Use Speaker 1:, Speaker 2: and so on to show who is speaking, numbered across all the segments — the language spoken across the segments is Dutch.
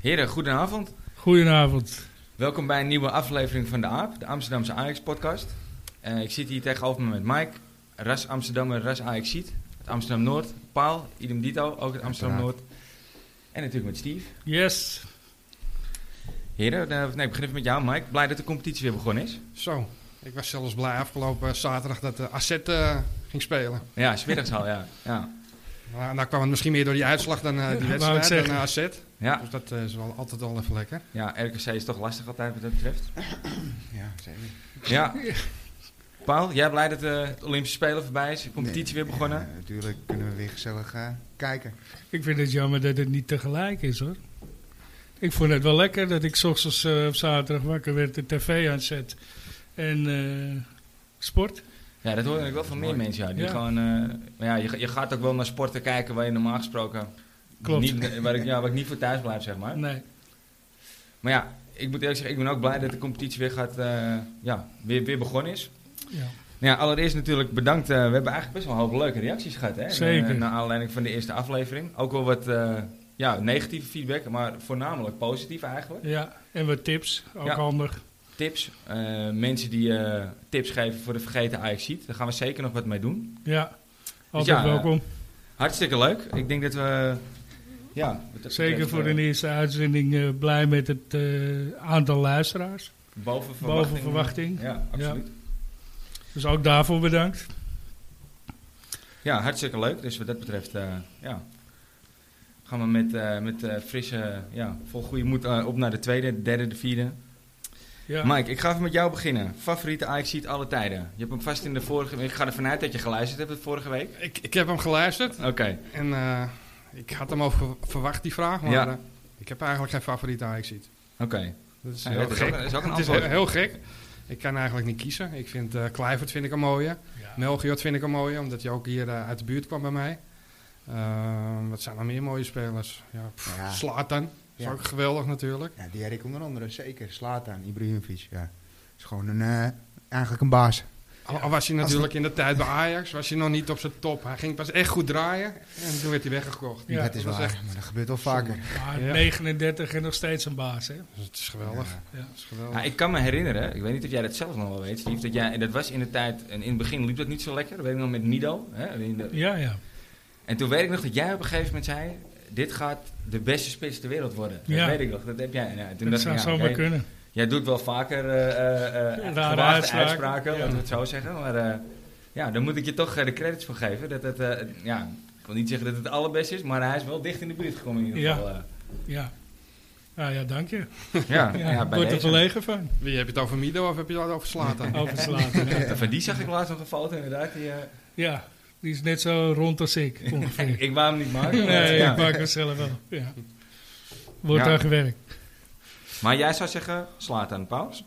Speaker 1: Heren, goedenavond.
Speaker 2: Goedenavond.
Speaker 1: Welkom bij een nieuwe aflevering van de AAP, de Amsterdamse Ajax-podcast. Eh, ik zit hier tegenover me met Mike, ras Amsterdammer, ras ajax Het Amsterdam Noord, Paal, idem dito, ook het Amsterdam Noord. En natuurlijk met Steve.
Speaker 2: Yes.
Speaker 1: Heren, eh, nee, ik begin even met jou Mike. Blij dat de competitie weer begonnen is.
Speaker 3: Zo, ik was zelfs blij afgelopen eh, zaterdag dat de AZ eh, ging spelen.
Speaker 1: Ja, smiddags al, ja. ja.
Speaker 3: Maar daar kwam het misschien meer door die uitslag dan eh, die
Speaker 2: wou ik
Speaker 3: wedstrijd, dan
Speaker 2: zeggen.
Speaker 3: eh, AZ.
Speaker 1: Ja,
Speaker 3: Dus dat eh, is wel altijd wel even lekker.
Speaker 1: ja, RKC is toch lastig altijd wat dat betreft.
Speaker 4: Ja, zeker.
Speaker 1: Ja. Paul, jij blij dat eh, het Olympische Spelen voorbij is, de competitie weer begonnen?
Speaker 4: Ja, natuurlijk kunnen we weer gezellig eh, kijken.
Speaker 2: Ik vind het jammer dat het niet tegelijk is hoor. Ik vond het wel lekker dat ik 's ochtends eh, op zaterdag wakker werd, de tv aanzet en eh, sport.
Speaker 1: Ja, dat hoor ik wel van meer mensen. Ja. Die
Speaker 2: Ja.
Speaker 1: Gewoon, eh, maar ja, je, ga- je gaat ook wel naar sporten kijken waar je normaal gesproken.
Speaker 2: Klopt.
Speaker 1: Niet, waar, ik, ja, waar ik niet voor thuis blijf, zeg maar.
Speaker 2: Nee.
Speaker 1: Maar ja, ik moet eerlijk zeggen, ik ben ook blij dat de competitie weer, gaat, eh, ja, weer, weer begonnen is.
Speaker 2: Ja.
Speaker 1: Nou ja, allereerst natuurlijk bedankt. eh, we hebben eigenlijk best wel een hoop leuke reacties gehad. Hè?
Speaker 2: Zeker.
Speaker 1: Eh, naar aanleiding van de eerste aflevering. Ook wel wat eh, ja, negatieve feedback, maar voornamelijk positief eigenlijk.
Speaker 2: ja. En wat tips, ook
Speaker 1: Ja.
Speaker 2: handig.
Speaker 1: Tips. eh, mensen die eh, tips geven voor de vergeten ajax Daar gaan we zeker nog wat mee doen.
Speaker 2: Ja.
Speaker 1: Dus
Speaker 2: Altijd
Speaker 1: ja,
Speaker 2: welkom.
Speaker 1: Hartstikke leuk. Ik denk dat we. Ja, wat dat betreft,
Speaker 2: Zeker voor
Speaker 1: eh,
Speaker 2: de eerste uitzending eh, blij met het eh, aantal luisteraars.
Speaker 1: Boven verwachting.
Speaker 2: Boven verwachting.
Speaker 1: Ja, absoluut. Ja.
Speaker 2: Dus ook daarvoor bedankt.
Speaker 1: hartstikke leuk. Dus wat dat betreft, eh, ja. Gaan we met, eh, met eh, frisse, ja, vol goede moed eh, op naar de tweede, de derde, de vierde.
Speaker 2: Ja.
Speaker 1: Mike, ik ga even met jou beginnen. Favoriete ajax alle tijden. Je hebt hem vast in de vorige week. Ik ga ervan uit dat je geluisterd hebt de vorige week.
Speaker 3: Ik, ik heb hem geluisterd
Speaker 1: Oké.
Speaker 3: en eh, ik had hem al ver- verwacht, die vraag. Maar
Speaker 1: Ja.
Speaker 3: eh, ik heb eigenlijk geen favoriete ajax ziet.
Speaker 1: Oké.
Speaker 3: Dat is
Speaker 1: Ja,
Speaker 3: heel
Speaker 1: dat is
Speaker 3: gek.
Speaker 1: ook- dat is ook een
Speaker 3: Het is
Speaker 1: antwoord.
Speaker 3: heel, heel gek. Ik kan eigenlijk niet kiezen. Ik vind eh Kluivert vind ik een mooie.
Speaker 2: Ja.
Speaker 3: Melchior vind ik een mooie, omdat hij ook hier eh, uit de buurt kwam bij mij. Ehm, wat zijn er meer mooie spelers? Ja, pff,
Speaker 4: Ja.
Speaker 3: Zlatan. Is
Speaker 4: Ja.
Speaker 3: ook geweldig natuurlijk.
Speaker 4: Ja, die Erik onder andere, zeker. Slatan, Ibrahimovic. Ja. Is gewoon een, eh, eigenlijk een baas.
Speaker 3: Al, al was hij natuurlijk in de tijd bij Ajax, was hij nog niet op zijn top. Hij ging pas echt goed draaien en toen werd hij weggekocht.
Speaker 2: Ja,
Speaker 4: dat is
Speaker 3: dat
Speaker 4: waar,
Speaker 3: is echt-
Speaker 4: maar dat gebeurt wel vaker.
Speaker 2: Maar
Speaker 3: Ja.
Speaker 2: 39 en nog steeds een baas hè.
Speaker 3: Dus het is geweldig.
Speaker 4: eh,
Speaker 2: Ja.
Speaker 3: Het is geweldig.
Speaker 1: Ja, ik kan me herinneren, ik weet niet of jij dat zelf nog wel weet, Steve, dat, jij, dat was in de tijd, en in het begin liep dat niet zo lekker, dat weet ik nog met Nido. Hè, in de,
Speaker 2: Ja, ja.
Speaker 1: En toen weet ik nog dat jij op een gegeven moment zei: Dit gaat de beste spits ter wereld worden.
Speaker 2: Ja.
Speaker 1: Dat weet ik nog, dat heb jij. Nou, toen
Speaker 2: Dat
Speaker 1: dacht ik,
Speaker 2: zou
Speaker 1: ja,
Speaker 2: zomaar
Speaker 1: oké,
Speaker 2: kunnen.
Speaker 1: Jij doet wel vaker eh, eh, eh,
Speaker 2: Rare
Speaker 1: gewaagde
Speaker 2: uitspraken,
Speaker 1: uitspraken,
Speaker 2: ja.
Speaker 1: laten we het zo zeggen. Maar eh, ja, dan moet ik je toch eh, de credits voor geven. Dat het, eh, ja, ik wil niet zeggen dat het het allerbeste is, maar hij is wel dicht in de buurt gekomen in ieder
Speaker 2: Ja.
Speaker 1: geval. eh.
Speaker 2: Ja. Nou ja, dank je.
Speaker 1: ja,
Speaker 2: Ja,
Speaker 1: ja,
Speaker 2: ik
Speaker 1: bij
Speaker 2: word er
Speaker 1: deze.
Speaker 2: verlegen van.
Speaker 3: Wie heb je het over Mido of heb je het over Slatan?
Speaker 2: Overslaten. ja.
Speaker 1: Van die zag ik laatst nog een foto inderdaad. Die, eh,
Speaker 2: ja, die is net zo rond als ik ongeveer.
Speaker 1: ik wou hem niet maken. maar,
Speaker 2: nee,
Speaker 1: ja.
Speaker 2: ik maak het zelf wel. Ja. Wordt
Speaker 1: Ja.
Speaker 2: daar gewerkt.
Speaker 1: Maar jij zou zeggen, slaat aan de paus.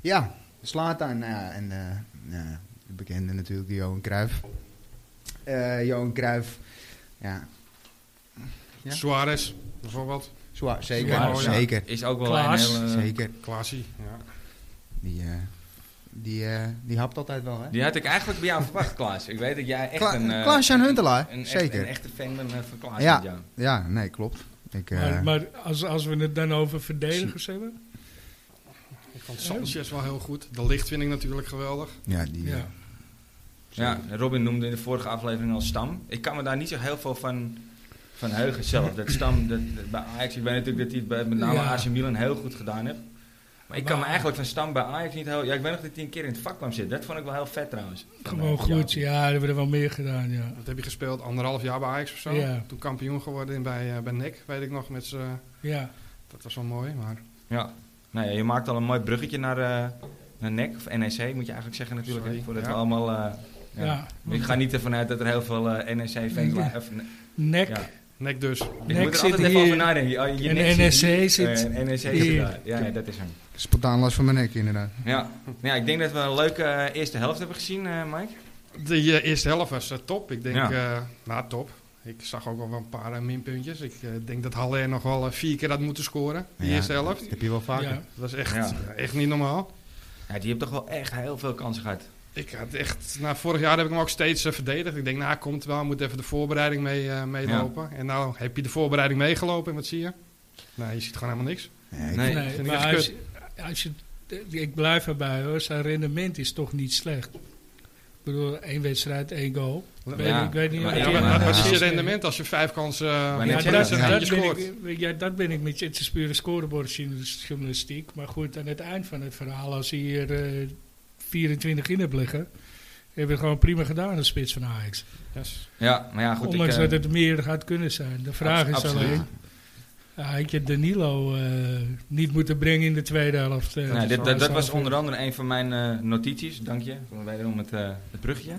Speaker 4: Ja, Slatan en eh, nou, de bekende natuurlijk, die Johan Cruijff. Eh, Johan Cruijff, ja, Ja.
Speaker 3: Suarez bijvoorbeeld,
Speaker 4: zwaar, zeker.
Speaker 2: Zwaar,
Speaker 3: ja.
Speaker 4: zeker.
Speaker 1: Is ook wel
Speaker 2: Klaas.
Speaker 1: een hele...
Speaker 4: Zeker.
Speaker 3: Klaasie. Ja.
Speaker 4: Die, eh, die, eh, die hapt altijd wel, hè?
Speaker 1: Die had ik eigenlijk bij jou verwacht, Klaas. Ik weet dat jij echt
Speaker 4: Kla-
Speaker 1: een... eh,
Speaker 4: Klaas-Jan Huntelaar,
Speaker 1: een, echt-
Speaker 4: zeker.
Speaker 1: een echte fan bent eh, van Klaas.
Speaker 4: Ja.
Speaker 1: Ja. ja.
Speaker 4: Ja, nee, klopt. Ik, eh,
Speaker 2: Maar, maar als, als we het dan over verdedigers hebben.
Speaker 3: Ik vond Sanchez wel heel goed. De licht vind ik natuurlijk geweldig.
Speaker 4: ja, die, eh,
Speaker 2: Ja.
Speaker 1: Robin noemde in de vorige aflevering al Stam. Ik kan me daar niet zo heel veel van, van heugen zelf. Dat Stam dat, dat bij Ajax... Ik weet natuurlijk dat hij het bij, met name
Speaker 2: Ja.
Speaker 1: AC Milan heel goed gedaan heeft. Maar ik kan me
Speaker 2: Maar-
Speaker 1: eigenlijk van Stam bij Ajax niet heel... Ja, ik weet nog dat hij een keer in het vak kwam zitten. Dat vond ik wel heel vet trouwens.
Speaker 2: Gewoon
Speaker 1: Van, eh,
Speaker 2: goed. Ja, daar hebben we er wel meer gedaan. Ja.
Speaker 3: Dat heb je gespeeld anderhalf jaar bij Ajax of zo.
Speaker 2: Ja.
Speaker 3: Toen kampioen geworden in- bij, eh, bij NEC, weet ik nog. Met z'n-
Speaker 2: ja.
Speaker 3: dat was wel mooi, maar
Speaker 1: Ja. Nou ja, je maakt al een mooi bruggetje naar, eh naar NEC. Of NEC moet je eigenlijk zeggen natuurlijk.
Speaker 3: Sorry,
Speaker 1: hè, Voordat
Speaker 3: ja.
Speaker 1: we allemaal... eh, ja.
Speaker 2: ja.
Speaker 1: Ik ga niet ervan uit dat er heel veel eh, NEC-fans...
Speaker 2: Ja. Nek.
Speaker 1: Ja.
Speaker 3: NEC dus.
Speaker 1: Ik
Speaker 2: Nek
Speaker 1: moet er
Speaker 2: zit
Speaker 1: altijd even
Speaker 2: hier.
Speaker 1: over nadenken. Oh, je
Speaker 2: En
Speaker 1: nek
Speaker 2: NSC
Speaker 1: hier.
Speaker 2: zit
Speaker 1: Eh, NSC
Speaker 2: hier.
Speaker 1: zit daar. Ja, nee, dat is hem.
Speaker 4: Spontaan last van mijn nek, inderdaad.
Speaker 1: Ja. Nou ja, ik denk dat we een leuke eh, eerste helft hebben gezien, eh, Mike.
Speaker 3: De eh, eerste helft was eh, top. Ik denk,
Speaker 1: Ja.
Speaker 3: eh, nou top. Ik zag ook al wel een paar eh, minpuntjes. Ik eh, denk dat Haller nog wel eh, vier keer had moeten scoren. Die
Speaker 4: Ja,
Speaker 3: eerste helft.
Speaker 4: Dat heb je wel vaker.
Speaker 2: Ja.
Speaker 3: Dat was echt, eh,
Speaker 1: Ja.
Speaker 3: echt niet normaal.
Speaker 1: Ja, die heeft toch wel echt heel veel kansen gehad.
Speaker 3: Ik had echt, nou, vorig jaar heb ik hem ook steeds eh, verdedigd. Ik denk, nou komt wel, moet even de voorbereiding mee, eh, meelopen. En nou heb je de voorbereiding meegelopen en wat zie je? Nee, je ziet gewoon helemaal niks.
Speaker 4: Nee, ik-
Speaker 1: Nee.
Speaker 2: Nee,
Speaker 3: vind ik echt
Speaker 2: maar als, als je, ik blijf erbij hoor, zijn rendement is toch niet slecht. Ik bedoel, één wedstrijd, één goal. Ik weet,
Speaker 1: Ja,
Speaker 2: niet- ik weet niet
Speaker 1: maar-
Speaker 2: wat
Speaker 1: ja,
Speaker 3: Ja,
Speaker 2: wat-
Speaker 3: maar
Speaker 1: maar-
Speaker 2: wat
Speaker 3: wat is je
Speaker 2: is.
Speaker 3: rendement als je vijf kansen eh,
Speaker 1: Maar
Speaker 2: Ja,
Speaker 1: net
Speaker 3: hebt
Speaker 1: zo,
Speaker 2: dat,
Speaker 1: ja.
Speaker 3: en
Speaker 2: dat
Speaker 3: je
Speaker 2: ben
Speaker 3: scoort?
Speaker 2: ik, ja, dat ben ik met je. Het is pure scorebordjournalistiek. Maar goed, aan het eind van het verhaal, als hij hier eh, 24 in hebt liggen, hebben we het gewoon prima gedaan, de spits van Ajax.
Speaker 3: Yes.
Speaker 1: Ja, maar ja, goed.
Speaker 2: Ondanks
Speaker 1: ik, eh,
Speaker 2: dat het meer had kunnen zijn. De vraag
Speaker 1: abs-
Speaker 2: is
Speaker 1: absoluut.
Speaker 2: alleen, ja, had je Danilo eh, niet moeten brengen in de tweede helft? eh,
Speaker 1: Nee, dit, dat,
Speaker 2: van
Speaker 1: dat
Speaker 2: Sanford?
Speaker 1: was onder andere een van mijn eh, notities. Dank je. Wederom het, eh het brugje.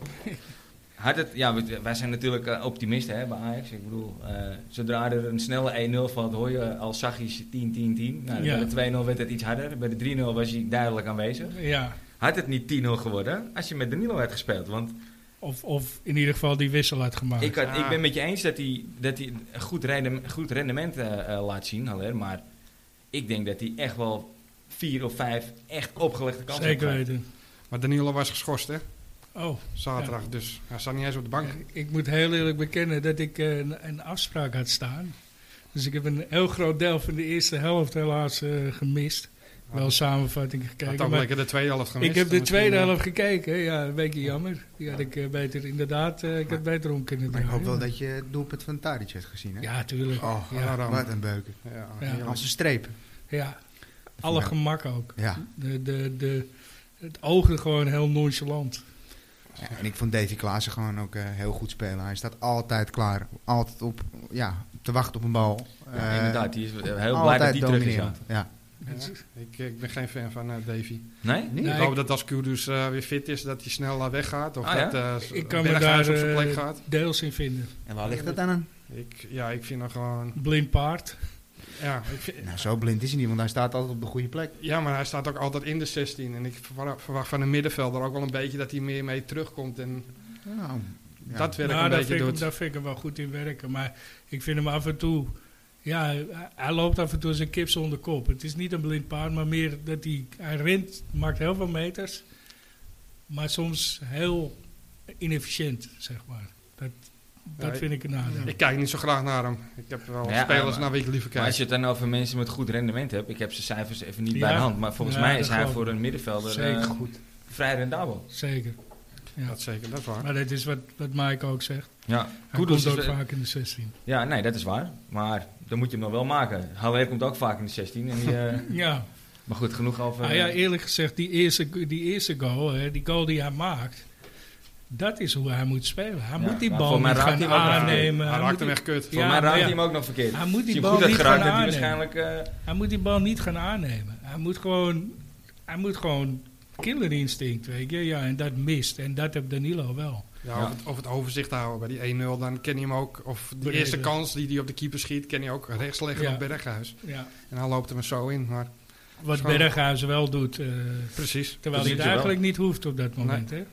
Speaker 1: Had het, ja, we- wij zijn natuurlijk eh, optimisten hè, bij Ajax. Ik bedoel, eh, zodra er een snelle 1-0 valt, hoor je al zachtjes 10-10-10. Nou,
Speaker 2: Ja.
Speaker 1: Bij de 2-0 werd het iets harder. Bij de 3-0 was hij duidelijk aanwezig.
Speaker 2: Ja,
Speaker 1: Had het niet 10-0 geworden als je met Danilo had gespeeld. Want
Speaker 2: of, of in ieder geval die wissel had gemaakt.
Speaker 1: ik, had,
Speaker 3: Ah.
Speaker 1: ik ben met je eens dat hij, dat hij een goed, rendem- goed rendement eh, eh, laat zien, Haller. Maar ik denk dat hij echt wel vier of vijf echt opgelegde kansen
Speaker 2: Zeker
Speaker 1: heeft
Speaker 2: weten.
Speaker 3: Maar Danilo was geschorst, hè?
Speaker 2: Oh,
Speaker 3: Zaterdag, dus hij staat niet eens op de bank.
Speaker 2: Ik, ik moet heel eerlijk bekennen dat ik eh, een, een afspraak had staan. Dus ik heb een heel groot deel van de eerste helft helaas eh, gemist. Wel samenvatting
Speaker 3: Had
Speaker 2: gekeken.
Speaker 3: ook
Speaker 2: maar
Speaker 3: lekker de tweede helft gemist.
Speaker 2: ik heb de
Speaker 3: Misschien,
Speaker 2: tweede
Speaker 3: eh,
Speaker 2: helft gekeken. Ja, een beetje jammer. Die had ik eh, beter inderdaad, eh, ik had beter om kunnen
Speaker 4: Maar ik hoop
Speaker 2: draaien.
Speaker 4: wel dat je het doelpunt van Tadic hebt gezien, hè?
Speaker 2: Ja, tuurlijk.
Speaker 3: Oh,
Speaker 2: Ja.
Speaker 3: ja.
Speaker 4: Wat een beuken.
Speaker 3: Ja,
Speaker 2: Ja.
Speaker 3: heerlijk.
Speaker 4: Als een streep.
Speaker 2: Ja. Alle
Speaker 4: Ja.
Speaker 2: gemak ook.
Speaker 4: Ja.
Speaker 2: De, de, de, het oogde gewoon heel nonchalant.
Speaker 4: Ja, En ik vond Davy Klaassen gewoon ook eh, heel goed spelen. Hij staat altijd klaar. Altijd op, ja, te wachten op een bal.
Speaker 1: Ja,
Speaker 4: Eh,
Speaker 1: inderdaad, die is heel blij dat
Speaker 4: altijd
Speaker 1: die terug is. Ja.
Speaker 4: dominerend. Ja.
Speaker 3: Ja, ik, ik ben geen fan van eh, Davy.
Speaker 1: Nee?
Speaker 4: Nee?
Speaker 3: ik
Speaker 2: Nee,
Speaker 3: hoop dat als Kudus eh, weer fit is, dat hij snel eh, weggaat. Of
Speaker 1: Ah, ja?
Speaker 3: dat eh
Speaker 2: Ik kan me
Speaker 3: Berghuis
Speaker 2: daar,
Speaker 3: op zijn plek
Speaker 2: eh,
Speaker 3: gaat.
Speaker 2: deels in vinden.
Speaker 4: En waar ligt dat aan?
Speaker 3: Ik, ja, ik vind hem gewoon...
Speaker 2: Blind paard.
Speaker 3: Ja, ik vind-
Speaker 4: Nou, zo blind is hij niet, want hij staat altijd op de goede plek.
Speaker 3: ja, maar hij staat ook altijd in de 16. En ik verwa- verwacht van een middenvelder ook wel een beetje dat hij meer mee terugkomt. En
Speaker 4: Nou, ja.
Speaker 3: dat werk
Speaker 2: Nou,
Speaker 3: een
Speaker 2: daar
Speaker 3: beetje
Speaker 2: vind, ik, hem-
Speaker 3: doet.
Speaker 2: daar vind ik hem wel goed in werken. Maar ik vind hem af en toe... Ja, hij- hij loopt af en toe zijn kip zonder kop. Het is niet een blind paard, maar meer dat hij... Hij rent, maakt heel veel meters. Maar soms heel inefficiënt, zeg maar. Dat, dat
Speaker 3: Ja,
Speaker 2: vind ik een nadeel.
Speaker 3: Ik kijk niet zo graag naar hem. Ik heb wel
Speaker 1: Ja,
Speaker 3: spelers
Speaker 1: maar-
Speaker 3: naar wie ik liever
Speaker 1: Maar
Speaker 3: kijk.
Speaker 1: als je het dan over mensen met goed rendement hebt, ik heb zijn cijfers even niet
Speaker 2: Ja.
Speaker 1: bij de hand, maar volgens
Speaker 2: Ja,
Speaker 1: mij is
Speaker 2: dat
Speaker 1: hij
Speaker 2: geloof
Speaker 1: voor
Speaker 2: ik.
Speaker 1: een middenvelder
Speaker 2: Zeker
Speaker 1: eh,
Speaker 2: goed.
Speaker 1: vrij rendabel.
Speaker 2: Zeker. Ja.
Speaker 3: Dat zeker, dat is waar.
Speaker 2: Maar dat is wat, wat Mike ook zegt.
Speaker 1: Ja,
Speaker 2: Hij
Speaker 1: Kudus
Speaker 2: komt
Speaker 1: is
Speaker 2: ook
Speaker 1: wel-
Speaker 2: vaak in de 16.
Speaker 1: ja, nee, dat is waar. Maar dan moet je hem nog wel maken. Haller komt ook vaak in de 16. En die, eh,
Speaker 2: Ja.
Speaker 1: maar goed, genoeg over... eh,
Speaker 2: Nou ja, eerlijk gezegd, die eerste, die eerste goal, hè, die goal die hij maakt, dat is hoe hij moet spelen. Hij
Speaker 1: Ja,
Speaker 2: moet die
Speaker 1: maar
Speaker 2: bal
Speaker 1: voor mij
Speaker 2: niet
Speaker 1: raakt
Speaker 2: gaan
Speaker 1: hij ook nog
Speaker 2: aannemen.
Speaker 3: Hij
Speaker 2: Hij
Speaker 3: raakt hem
Speaker 2: moet,
Speaker 3: echt kut.
Speaker 1: Voor
Speaker 2: ja,
Speaker 1: mij raakt
Speaker 2: ja.
Speaker 1: hij hem ook nog verkeerd.
Speaker 2: Hij moet
Speaker 1: Als
Speaker 2: die
Speaker 1: je hem
Speaker 2: bal
Speaker 1: goed had
Speaker 2: niet
Speaker 1: geraakt,
Speaker 2: gaan
Speaker 1: had hij
Speaker 2: aannemen.
Speaker 1: waarschijnlijk... eh,
Speaker 2: die- hij moet die bal niet gaan aannemen. Hij moet gewoon, hij moet gewoon killer instinct, weet je. Ja, en dat mist. En dat heeft Danilo wel.
Speaker 3: Ja,
Speaker 1: Ja.
Speaker 3: Of, het, of het overzicht houden bij die 1-0, dan ken je hem ook. Of de
Speaker 2: Beneden.
Speaker 3: eerste kans die hij op de keeper schiet, ken je ook rechts leggen
Speaker 2: Ja.
Speaker 3: op Berghuis.
Speaker 2: Ja.
Speaker 3: En hij loopt hem er zo in. Maar
Speaker 2: Wat
Speaker 3: Gewoon-
Speaker 2: Berghuis wel doet, eh,
Speaker 3: precies.
Speaker 1: Dus
Speaker 2: terwijl hij het
Speaker 1: doet hij
Speaker 2: eigenlijk niet hoeft op dat moment. Hè?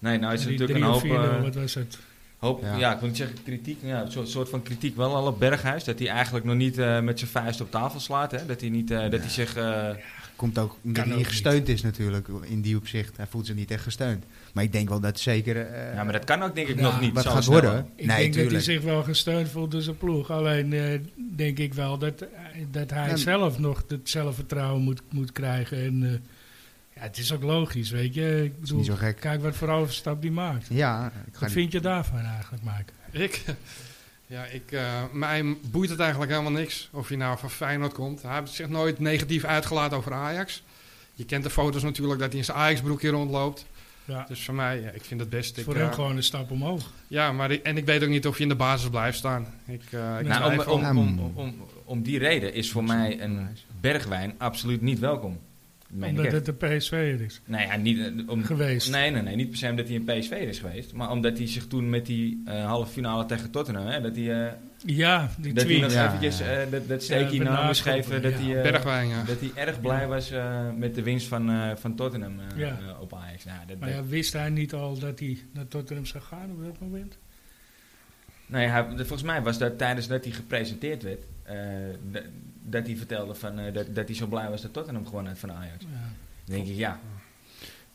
Speaker 1: Nee, nou is er
Speaker 2: Die
Speaker 1: natuurlijk een
Speaker 2: drie of
Speaker 1: hoop...
Speaker 2: vier,
Speaker 1: eh,
Speaker 2: wat was het?
Speaker 1: Hoop, ja.
Speaker 4: Ja.
Speaker 1: ik wil niet zeggen kritiek, maar ja, een soort, soort van kritiek wel al op Berghuis. Dat hij eigenlijk nog niet eh, met zijn vuist op tafel slaat. Hè? Dat hij, niet, eh, dat hij zich... eh,
Speaker 4: Komt ook omdat
Speaker 2: Kan
Speaker 4: hij niet
Speaker 2: ook
Speaker 4: gesteund is natuurlijk, in die opzicht. Hij voelt zich niet echt gesteund. Maar ik denk wel dat zeker... eh,
Speaker 1: ja, maar dat kan ook denk ik
Speaker 2: Ja,
Speaker 1: nog niet
Speaker 4: wat
Speaker 1: zo
Speaker 4: gaat
Speaker 1: snel.
Speaker 4: worden.
Speaker 2: Ik
Speaker 4: nee,
Speaker 2: denk dat
Speaker 4: natuurlijk.
Speaker 2: hij zich wel gesteund voelt door zijn ploeg. Alleen eh, denk ik wel dat, eh, dat hij
Speaker 4: Ja.
Speaker 2: zelf nog het zelfvertrouwen moet, moet krijgen. En eh, ja, het is ook logisch, weet je. Ik
Speaker 4: is niet
Speaker 2: bedoel,
Speaker 4: zo gek.
Speaker 2: kijk wat voor overstap die maakt.
Speaker 4: Ja, ik ga
Speaker 2: Wat
Speaker 4: niet...
Speaker 2: vind je daarvan eigenlijk, Mike?
Speaker 3: Ik, ja, ik, eh, mij boeit het eigenlijk helemaal niks of hij nou van Feyenoord komt. Hij heeft zich nooit negatief uitgelaten over Ajax. Je kent de foto's natuurlijk dat hij in zijn Ajax-broekje rondloopt.
Speaker 2: Ja,
Speaker 3: Dus voor mij, ja, ik vind het best. Ik,
Speaker 2: voor hem
Speaker 3: eh,
Speaker 2: gewoon een stap omhoog.
Speaker 3: Ja, maar ik- en ik weet ook niet of hij in de basis blijft staan. Ik, eh, ik
Speaker 1: Nou, om,
Speaker 3: twijfel.
Speaker 1: om,
Speaker 4: Ja,
Speaker 1: om, om, om, om die reden is voor mij een Bergwijn absoluut niet welkom. Dat meen ik
Speaker 2: Omdat
Speaker 1: echt.
Speaker 2: het de PSV'er is
Speaker 1: Nee, ja, niet, eh, om,
Speaker 2: geweest.
Speaker 1: nee, nee, nee, niet per se omdat hij een PSV is geweest. Maar omdat hij zich toen met die eh, halve finale tegen Tottenham... Hè, dat hij, eh,
Speaker 2: Ja, die
Speaker 1: dat hij
Speaker 2: tweet.
Speaker 1: nog
Speaker 4: Ja,
Speaker 1: eventjes
Speaker 4: ja.
Speaker 1: eh, dat, dat steekje
Speaker 2: Ja,
Speaker 1: na moest
Speaker 2: benadrukken,
Speaker 1: geven. Dat
Speaker 2: ja.
Speaker 1: hij, eh,
Speaker 3: Bergwijn, ja.
Speaker 1: Dat hij erg blij was eh, met de winst van, eh, van Tottenham eh,
Speaker 2: Ja.
Speaker 1: eh, op Ajax. Nou, dat,
Speaker 2: Maar
Speaker 1: dat-
Speaker 2: ja, wist hij niet al dat hij naar Tottenham zou gaan op dat moment?
Speaker 1: nee, nou hij- dat- volgens mij was dat tijdens dat hij gepresenteerd werd, eh, dat, dat hij vertelde van, eh, dat, dat hij zo blij was dat Tottenham gewonnen had van Ajax.
Speaker 2: Ja.
Speaker 1: Dan denk ik, ja,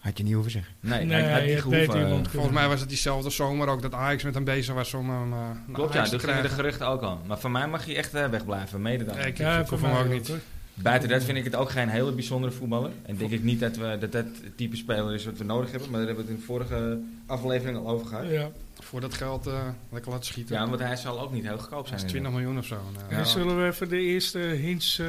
Speaker 4: Had je niet hoeven zeggen.
Speaker 1: Nee,
Speaker 2: Nee,
Speaker 1: hij had
Speaker 2: je
Speaker 1: niet
Speaker 2: hebt
Speaker 1: gehoeven.
Speaker 2: beter
Speaker 1: eh,
Speaker 2: iemand-
Speaker 3: Volgens mij was het diezelfde zomer ook dat Ajax met hem bezig was om hem eh naar
Speaker 1: Klopt, ja,
Speaker 3: Ajax
Speaker 1: toen
Speaker 3: te
Speaker 1: gingen de
Speaker 3: krijgen.
Speaker 1: geruchten ook al. Maar van mij mag je echt eh, wegblijven, mede dan.
Speaker 3: Ja, ik,
Speaker 2: Ja,
Speaker 3: ik
Speaker 2: voor
Speaker 3: hoef hem
Speaker 2: mij
Speaker 3: ook
Speaker 2: ook,
Speaker 3: niet.
Speaker 2: hoor.
Speaker 1: Buiten dat vind ik het ook geen hele bijzondere voetballer. En denk ik niet dat we, dat, dat het type speler is wat we nodig hebben. Maar daar hebben we het in de vorige aflevering al over gehad.
Speaker 2: Ja.
Speaker 3: Voor dat geld eh, lekker laten schieten.
Speaker 1: Ja, want hij zal ook niet heel goedkoop
Speaker 3: dat
Speaker 1: zijn.
Speaker 3: is 20 miljoen of zo. Nou,
Speaker 1: Ja.
Speaker 2: Dan zullen we even de eerste hints eh,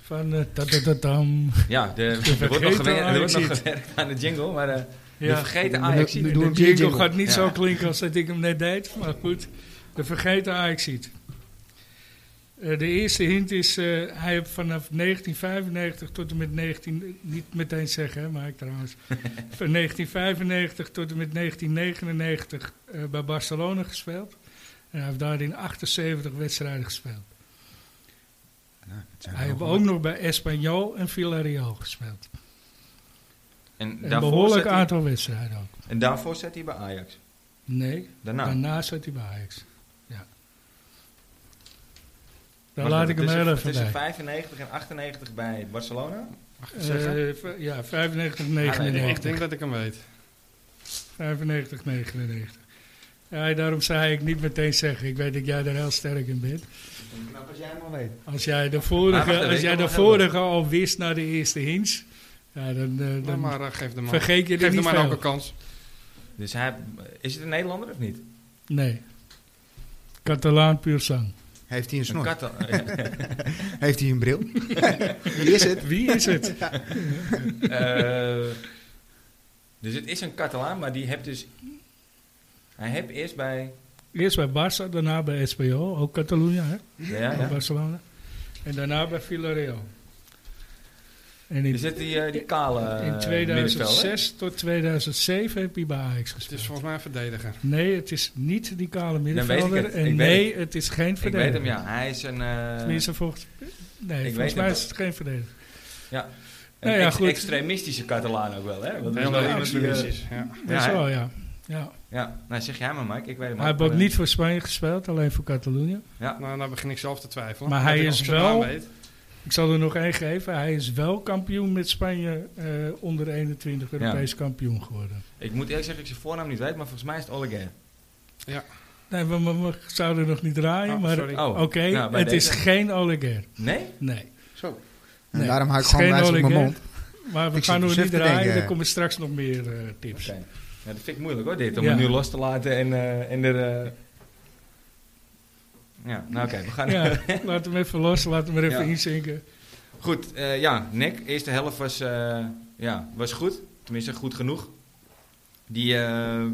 Speaker 2: van... eh, tadadadam.
Speaker 1: Ja, de, er wordt nog
Speaker 2: vergeten
Speaker 1: gewerkt, er wordt nog
Speaker 2: Ajaxiet.
Speaker 1: gewerkt aan de jingle. Maar eh, de
Speaker 2: Ja.
Speaker 1: vergeten
Speaker 4: Nu-
Speaker 1: Ajax.
Speaker 4: nu-
Speaker 1: ziet.
Speaker 4: Doe
Speaker 2: De
Speaker 4: een
Speaker 2: jingle
Speaker 4: jingle.
Speaker 2: gaat niet
Speaker 1: Ja.
Speaker 2: zo klinken als dat ik hem net deed, maar goed. De vergeten Ajax ziet. de eerste hint is, eh, hij heeft vanaf 1995 tot en met 19... Niet meteen zeggen, hè, maar ik trouwens. van 1995 tot en met 1999 eh, bij Barcelona gespeeld. En hij heeft daarin 78 wedstrijden gespeeld.
Speaker 4: Nou, het zijn
Speaker 2: Hij heeft
Speaker 4: wel-
Speaker 2: ook nog bij Espanyol en Villarreal gespeeld.
Speaker 1: En
Speaker 2: Een
Speaker 1: daarvoor, zat
Speaker 2: behoorlijk
Speaker 1: hij,
Speaker 2: aantal wedstrijden ook.
Speaker 1: en daarvoor zat hij bij Ajax.
Speaker 2: Nee,
Speaker 1: Daarna.
Speaker 2: daarna zat hij bij Ajax. Ja. Dan
Speaker 1: Was
Speaker 2: laat
Speaker 1: het
Speaker 2: ik hem
Speaker 1: tussen-
Speaker 2: heel even
Speaker 1: Tussen
Speaker 2: bij.
Speaker 1: 95 en 98 bij Barcelona.
Speaker 3: mag ik het zeggen?
Speaker 2: Eh, v- ja,
Speaker 1: Ah,
Speaker 2: 95,
Speaker 3: ik
Speaker 2: 99.
Speaker 3: denk dat ik hem weet.
Speaker 2: 95, 99. Ja, daarom zei ik niet meteen zeggen. Ik weet dat jij er heel sterk in bent.
Speaker 4: Nou, als jij hem al weet.
Speaker 2: Als jij de
Speaker 1: Ah, wacht
Speaker 2: vorige,
Speaker 1: even,
Speaker 2: als
Speaker 1: ik
Speaker 2: jij
Speaker 1: heb
Speaker 2: de
Speaker 1: nog heel wat.
Speaker 2: vorige al wist naar de eerste hints, ja, dan, eh,
Speaker 3: Nou,
Speaker 2: dan
Speaker 3: maar eh, geef de man,
Speaker 2: vergeet je er
Speaker 3: geef de
Speaker 2: niet
Speaker 3: man ook een
Speaker 2: veel.
Speaker 3: kans.
Speaker 1: Dus hij, is het een Nederlander of niet?
Speaker 2: Nee. Catalaan puur zang.
Speaker 4: Heeft hij een
Speaker 1: Een
Speaker 4: snor?
Speaker 1: kat. eh,
Speaker 4: Heeft hij een bril? Wie is het?
Speaker 2: Wie is het?
Speaker 1: Eh, dus het is een Catalaan, maar die heeft dus. Hij heeft eerst bij.
Speaker 2: Eerst bij Barça, daarna bij SPO, ook Catalunya, hè?
Speaker 1: Ja, ja,
Speaker 2: Ook
Speaker 1: ja.
Speaker 2: Barcelona. En daarna bij Villarreal. En in,
Speaker 1: Is het die, eh, die kale.
Speaker 2: in 2006 tot 2007 heb hij bij Ajax
Speaker 3: Het is
Speaker 2: gespeeld.
Speaker 3: volgens mij een verdediger.
Speaker 2: Nee, het is niet die kale middenvelder.
Speaker 1: weet ik het.
Speaker 2: En
Speaker 1: Ik weet
Speaker 2: nee, het is geen
Speaker 1: Ik
Speaker 2: verdediger.
Speaker 1: weet hem, ja. Hij is een. eh,
Speaker 2: Tenminste, volgens, nee,
Speaker 1: weet
Speaker 2: volgens mij
Speaker 1: hem.
Speaker 2: is het geen verdediger.
Speaker 1: een
Speaker 2: nou ja,
Speaker 1: ex-
Speaker 2: goed.
Speaker 1: extremistische Catalaan ook wel, hè? Want dat is
Speaker 3: Heel
Speaker 1: wel
Speaker 3: erg
Speaker 1: iemand die, eh,
Speaker 3: extremistisch. Ja.
Speaker 2: Dat is
Speaker 1: hij-
Speaker 2: wel, ja. ja.
Speaker 1: Ja, nou zeg jij maar, Mike. Ik weet hem
Speaker 2: Hij heeft
Speaker 1: ook,
Speaker 2: ook
Speaker 1: maar,
Speaker 2: niet voor Spanje gespeeld, alleen voor Catalonië.
Speaker 3: Nou, dan begin ik zelf te twijfelen.
Speaker 2: Maar
Speaker 3: Dat
Speaker 2: hij
Speaker 3: ik
Speaker 2: is
Speaker 3: ook zijn naam
Speaker 2: wel-
Speaker 3: weet.
Speaker 2: Ik zal er nog één geven. Hij is wel kampioen met Spanje eh, onder 21 Europees kampioen geworden.
Speaker 1: eh, Ik moet eerlijk zeggen, ik zijn voornaam niet weet, maar volgens mij is het Olegair.
Speaker 2: Nee, we, we, we zouden nog niet draaien,
Speaker 3: Oh,
Speaker 2: maar
Speaker 3: sorry.
Speaker 2: oké,
Speaker 1: Oh, nou, bij
Speaker 2: het is
Speaker 1: deze.
Speaker 2: geen Olegair.
Speaker 1: Nee?
Speaker 2: Nee.
Speaker 4: Zo. En
Speaker 2: Nee,
Speaker 4: daarom haak ik
Speaker 2: het is
Speaker 4: gewoon
Speaker 2: geen
Speaker 4: wijs op mijn
Speaker 2: Ole
Speaker 4: mond.
Speaker 2: Maar we
Speaker 4: Ik
Speaker 2: gaan
Speaker 4: zit
Speaker 2: nog
Speaker 4: zelf
Speaker 2: niet
Speaker 4: te
Speaker 2: draaien,
Speaker 4: denken. eh.
Speaker 2: er komen straks nog meer eh, tips.
Speaker 1: Oké. Ja, dat vind ik moeilijk hoor, dit. Om
Speaker 2: Ja.
Speaker 1: het nu los te laten en, eh, en er... eh, Ja, nou oké, we gaan...
Speaker 2: Ja, laat hem even los, laat hem er even
Speaker 1: Ja.
Speaker 2: inzinken.
Speaker 1: Goed, eh, ja, Nick. Eerste helft was, eh, ja, was goed. Tenminste, goed genoeg. Die, eh,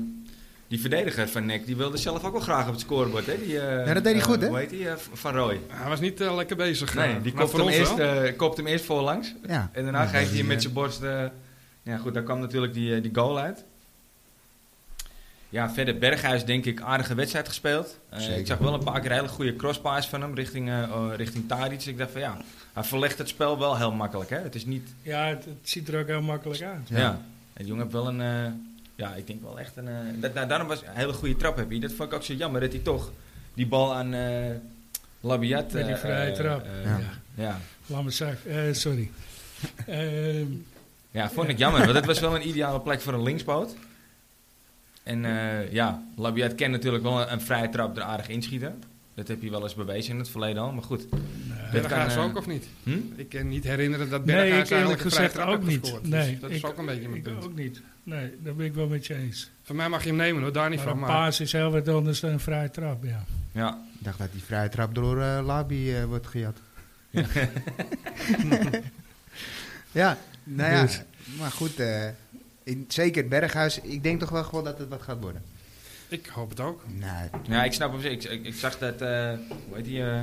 Speaker 1: die verdediger van Nick, die wilde zelf ook wel graag op het scorebord, hè? Die, eh,
Speaker 4: Ja, dat deed hij
Speaker 1: eh,
Speaker 4: goed, hè?
Speaker 1: Hoe heet die? Eh, van Roy.
Speaker 3: Hij was niet eh, lekker bezig.
Speaker 1: Nee,
Speaker 3: eh,
Speaker 1: die
Speaker 3: maar
Speaker 1: kopt
Speaker 3: voor
Speaker 1: hem,
Speaker 3: ons
Speaker 1: eerst,
Speaker 3: wel.
Speaker 1: eh, kopt hem eerst voorlangs.
Speaker 4: Ja.
Speaker 1: En daarna geeft hij hem met
Speaker 4: eh,
Speaker 1: zijn borst. eh, ja, goed, daar kwam natuurlijk die, eh, die goal uit. Ja, verder Berghuis, denk ik, aardige wedstrijd gespeeld. Eh,
Speaker 4: Zeker.
Speaker 1: ik zag wel een paar keer hele goede crosspaas van hem richting, eh oh, richting Tadic. Ik dacht van ja, hij verlegt het spel wel heel makkelijk. Hè? Het is niet.
Speaker 2: Ja, het, het ziet er ook heel makkelijk uit.
Speaker 1: Ja.
Speaker 4: Ja.
Speaker 1: Het jongen heeft wel een. eh, ja, ik denk wel echt een. eh, dat, nou, daarom was een hele goede trap heb je. Dat vond ik ook zo jammer dat hij toch die bal aan eh Labiat.
Speaker 2: Met die
Speaker 1: eh,
Speaker 2: vrije
Speaker 1: eh,
Speaker 2: trap.
Speaker 1: eh,
Speaker 2: ja.
Speaker 4: Ja.
Speaker 1: ja.
Speaker 2: Laat me zeggen. Eh, sorry. Ehm,
Speaker 1: Ja, vond ik jammer, want het was wel een ideale plek voor een linkspoot. En eh, ja, Labiat kan natuurlijk wel een, een vrije trap er aardig inschieten. Dat heb je wel eens bewezen in het verleden al, maar goed. Dat kan,
Speaker 3: Berghuis
Speaker 1: eh,
Speaker 3: ook of niet?
Speaker 1: hm?
Speaker 3: Ik kan niet herinneren dat
Speaker 2: nee, ik eerlijk
Speaker 3: Berghuis eigenlijk een vrije
Speaker 2: gezegd
Speaker 3: trap
Speaker 2: ook
Speaker 3: heeft
Speaker 2: niet.
Speaker 3: gescoord. Dus
Speaker 2: nee,
Speaker 3: dat is ook een beetje mijn
Speaker 2: ik
Speaker 3: punt.
Speaker 2: ook niet. Nee, daar ben ik wel met je eens.
Speaker 3: Van mij mag je hem nemen hoor, daar niet
Speaker 2: Maar
Speaker 3: van.
Speaker 2: een
Speaker 3: Maar
Speaker 2: paas is heel wat anders dan een vrije trap, ja.
Speaker 1: Ja,
Speaker 4: Ik dacht dat die vrije trap door eh, Labi eh, wordt gejat.
Speaker 1: Ja.
Speaker 4: Ja, nou ja,
Speaker 2: Dus.
Speaker 4: maar goed. eh, in, zeker Berghuis, ik denk toch wel gewoon dat het wat gaat worden.
Speaker 3: ik hoop het ook.
Speaker 4: Nou,
Speaker 1: ja ik snap hem. Ik, ik, ik zag dat, eh hoe heet die, eh,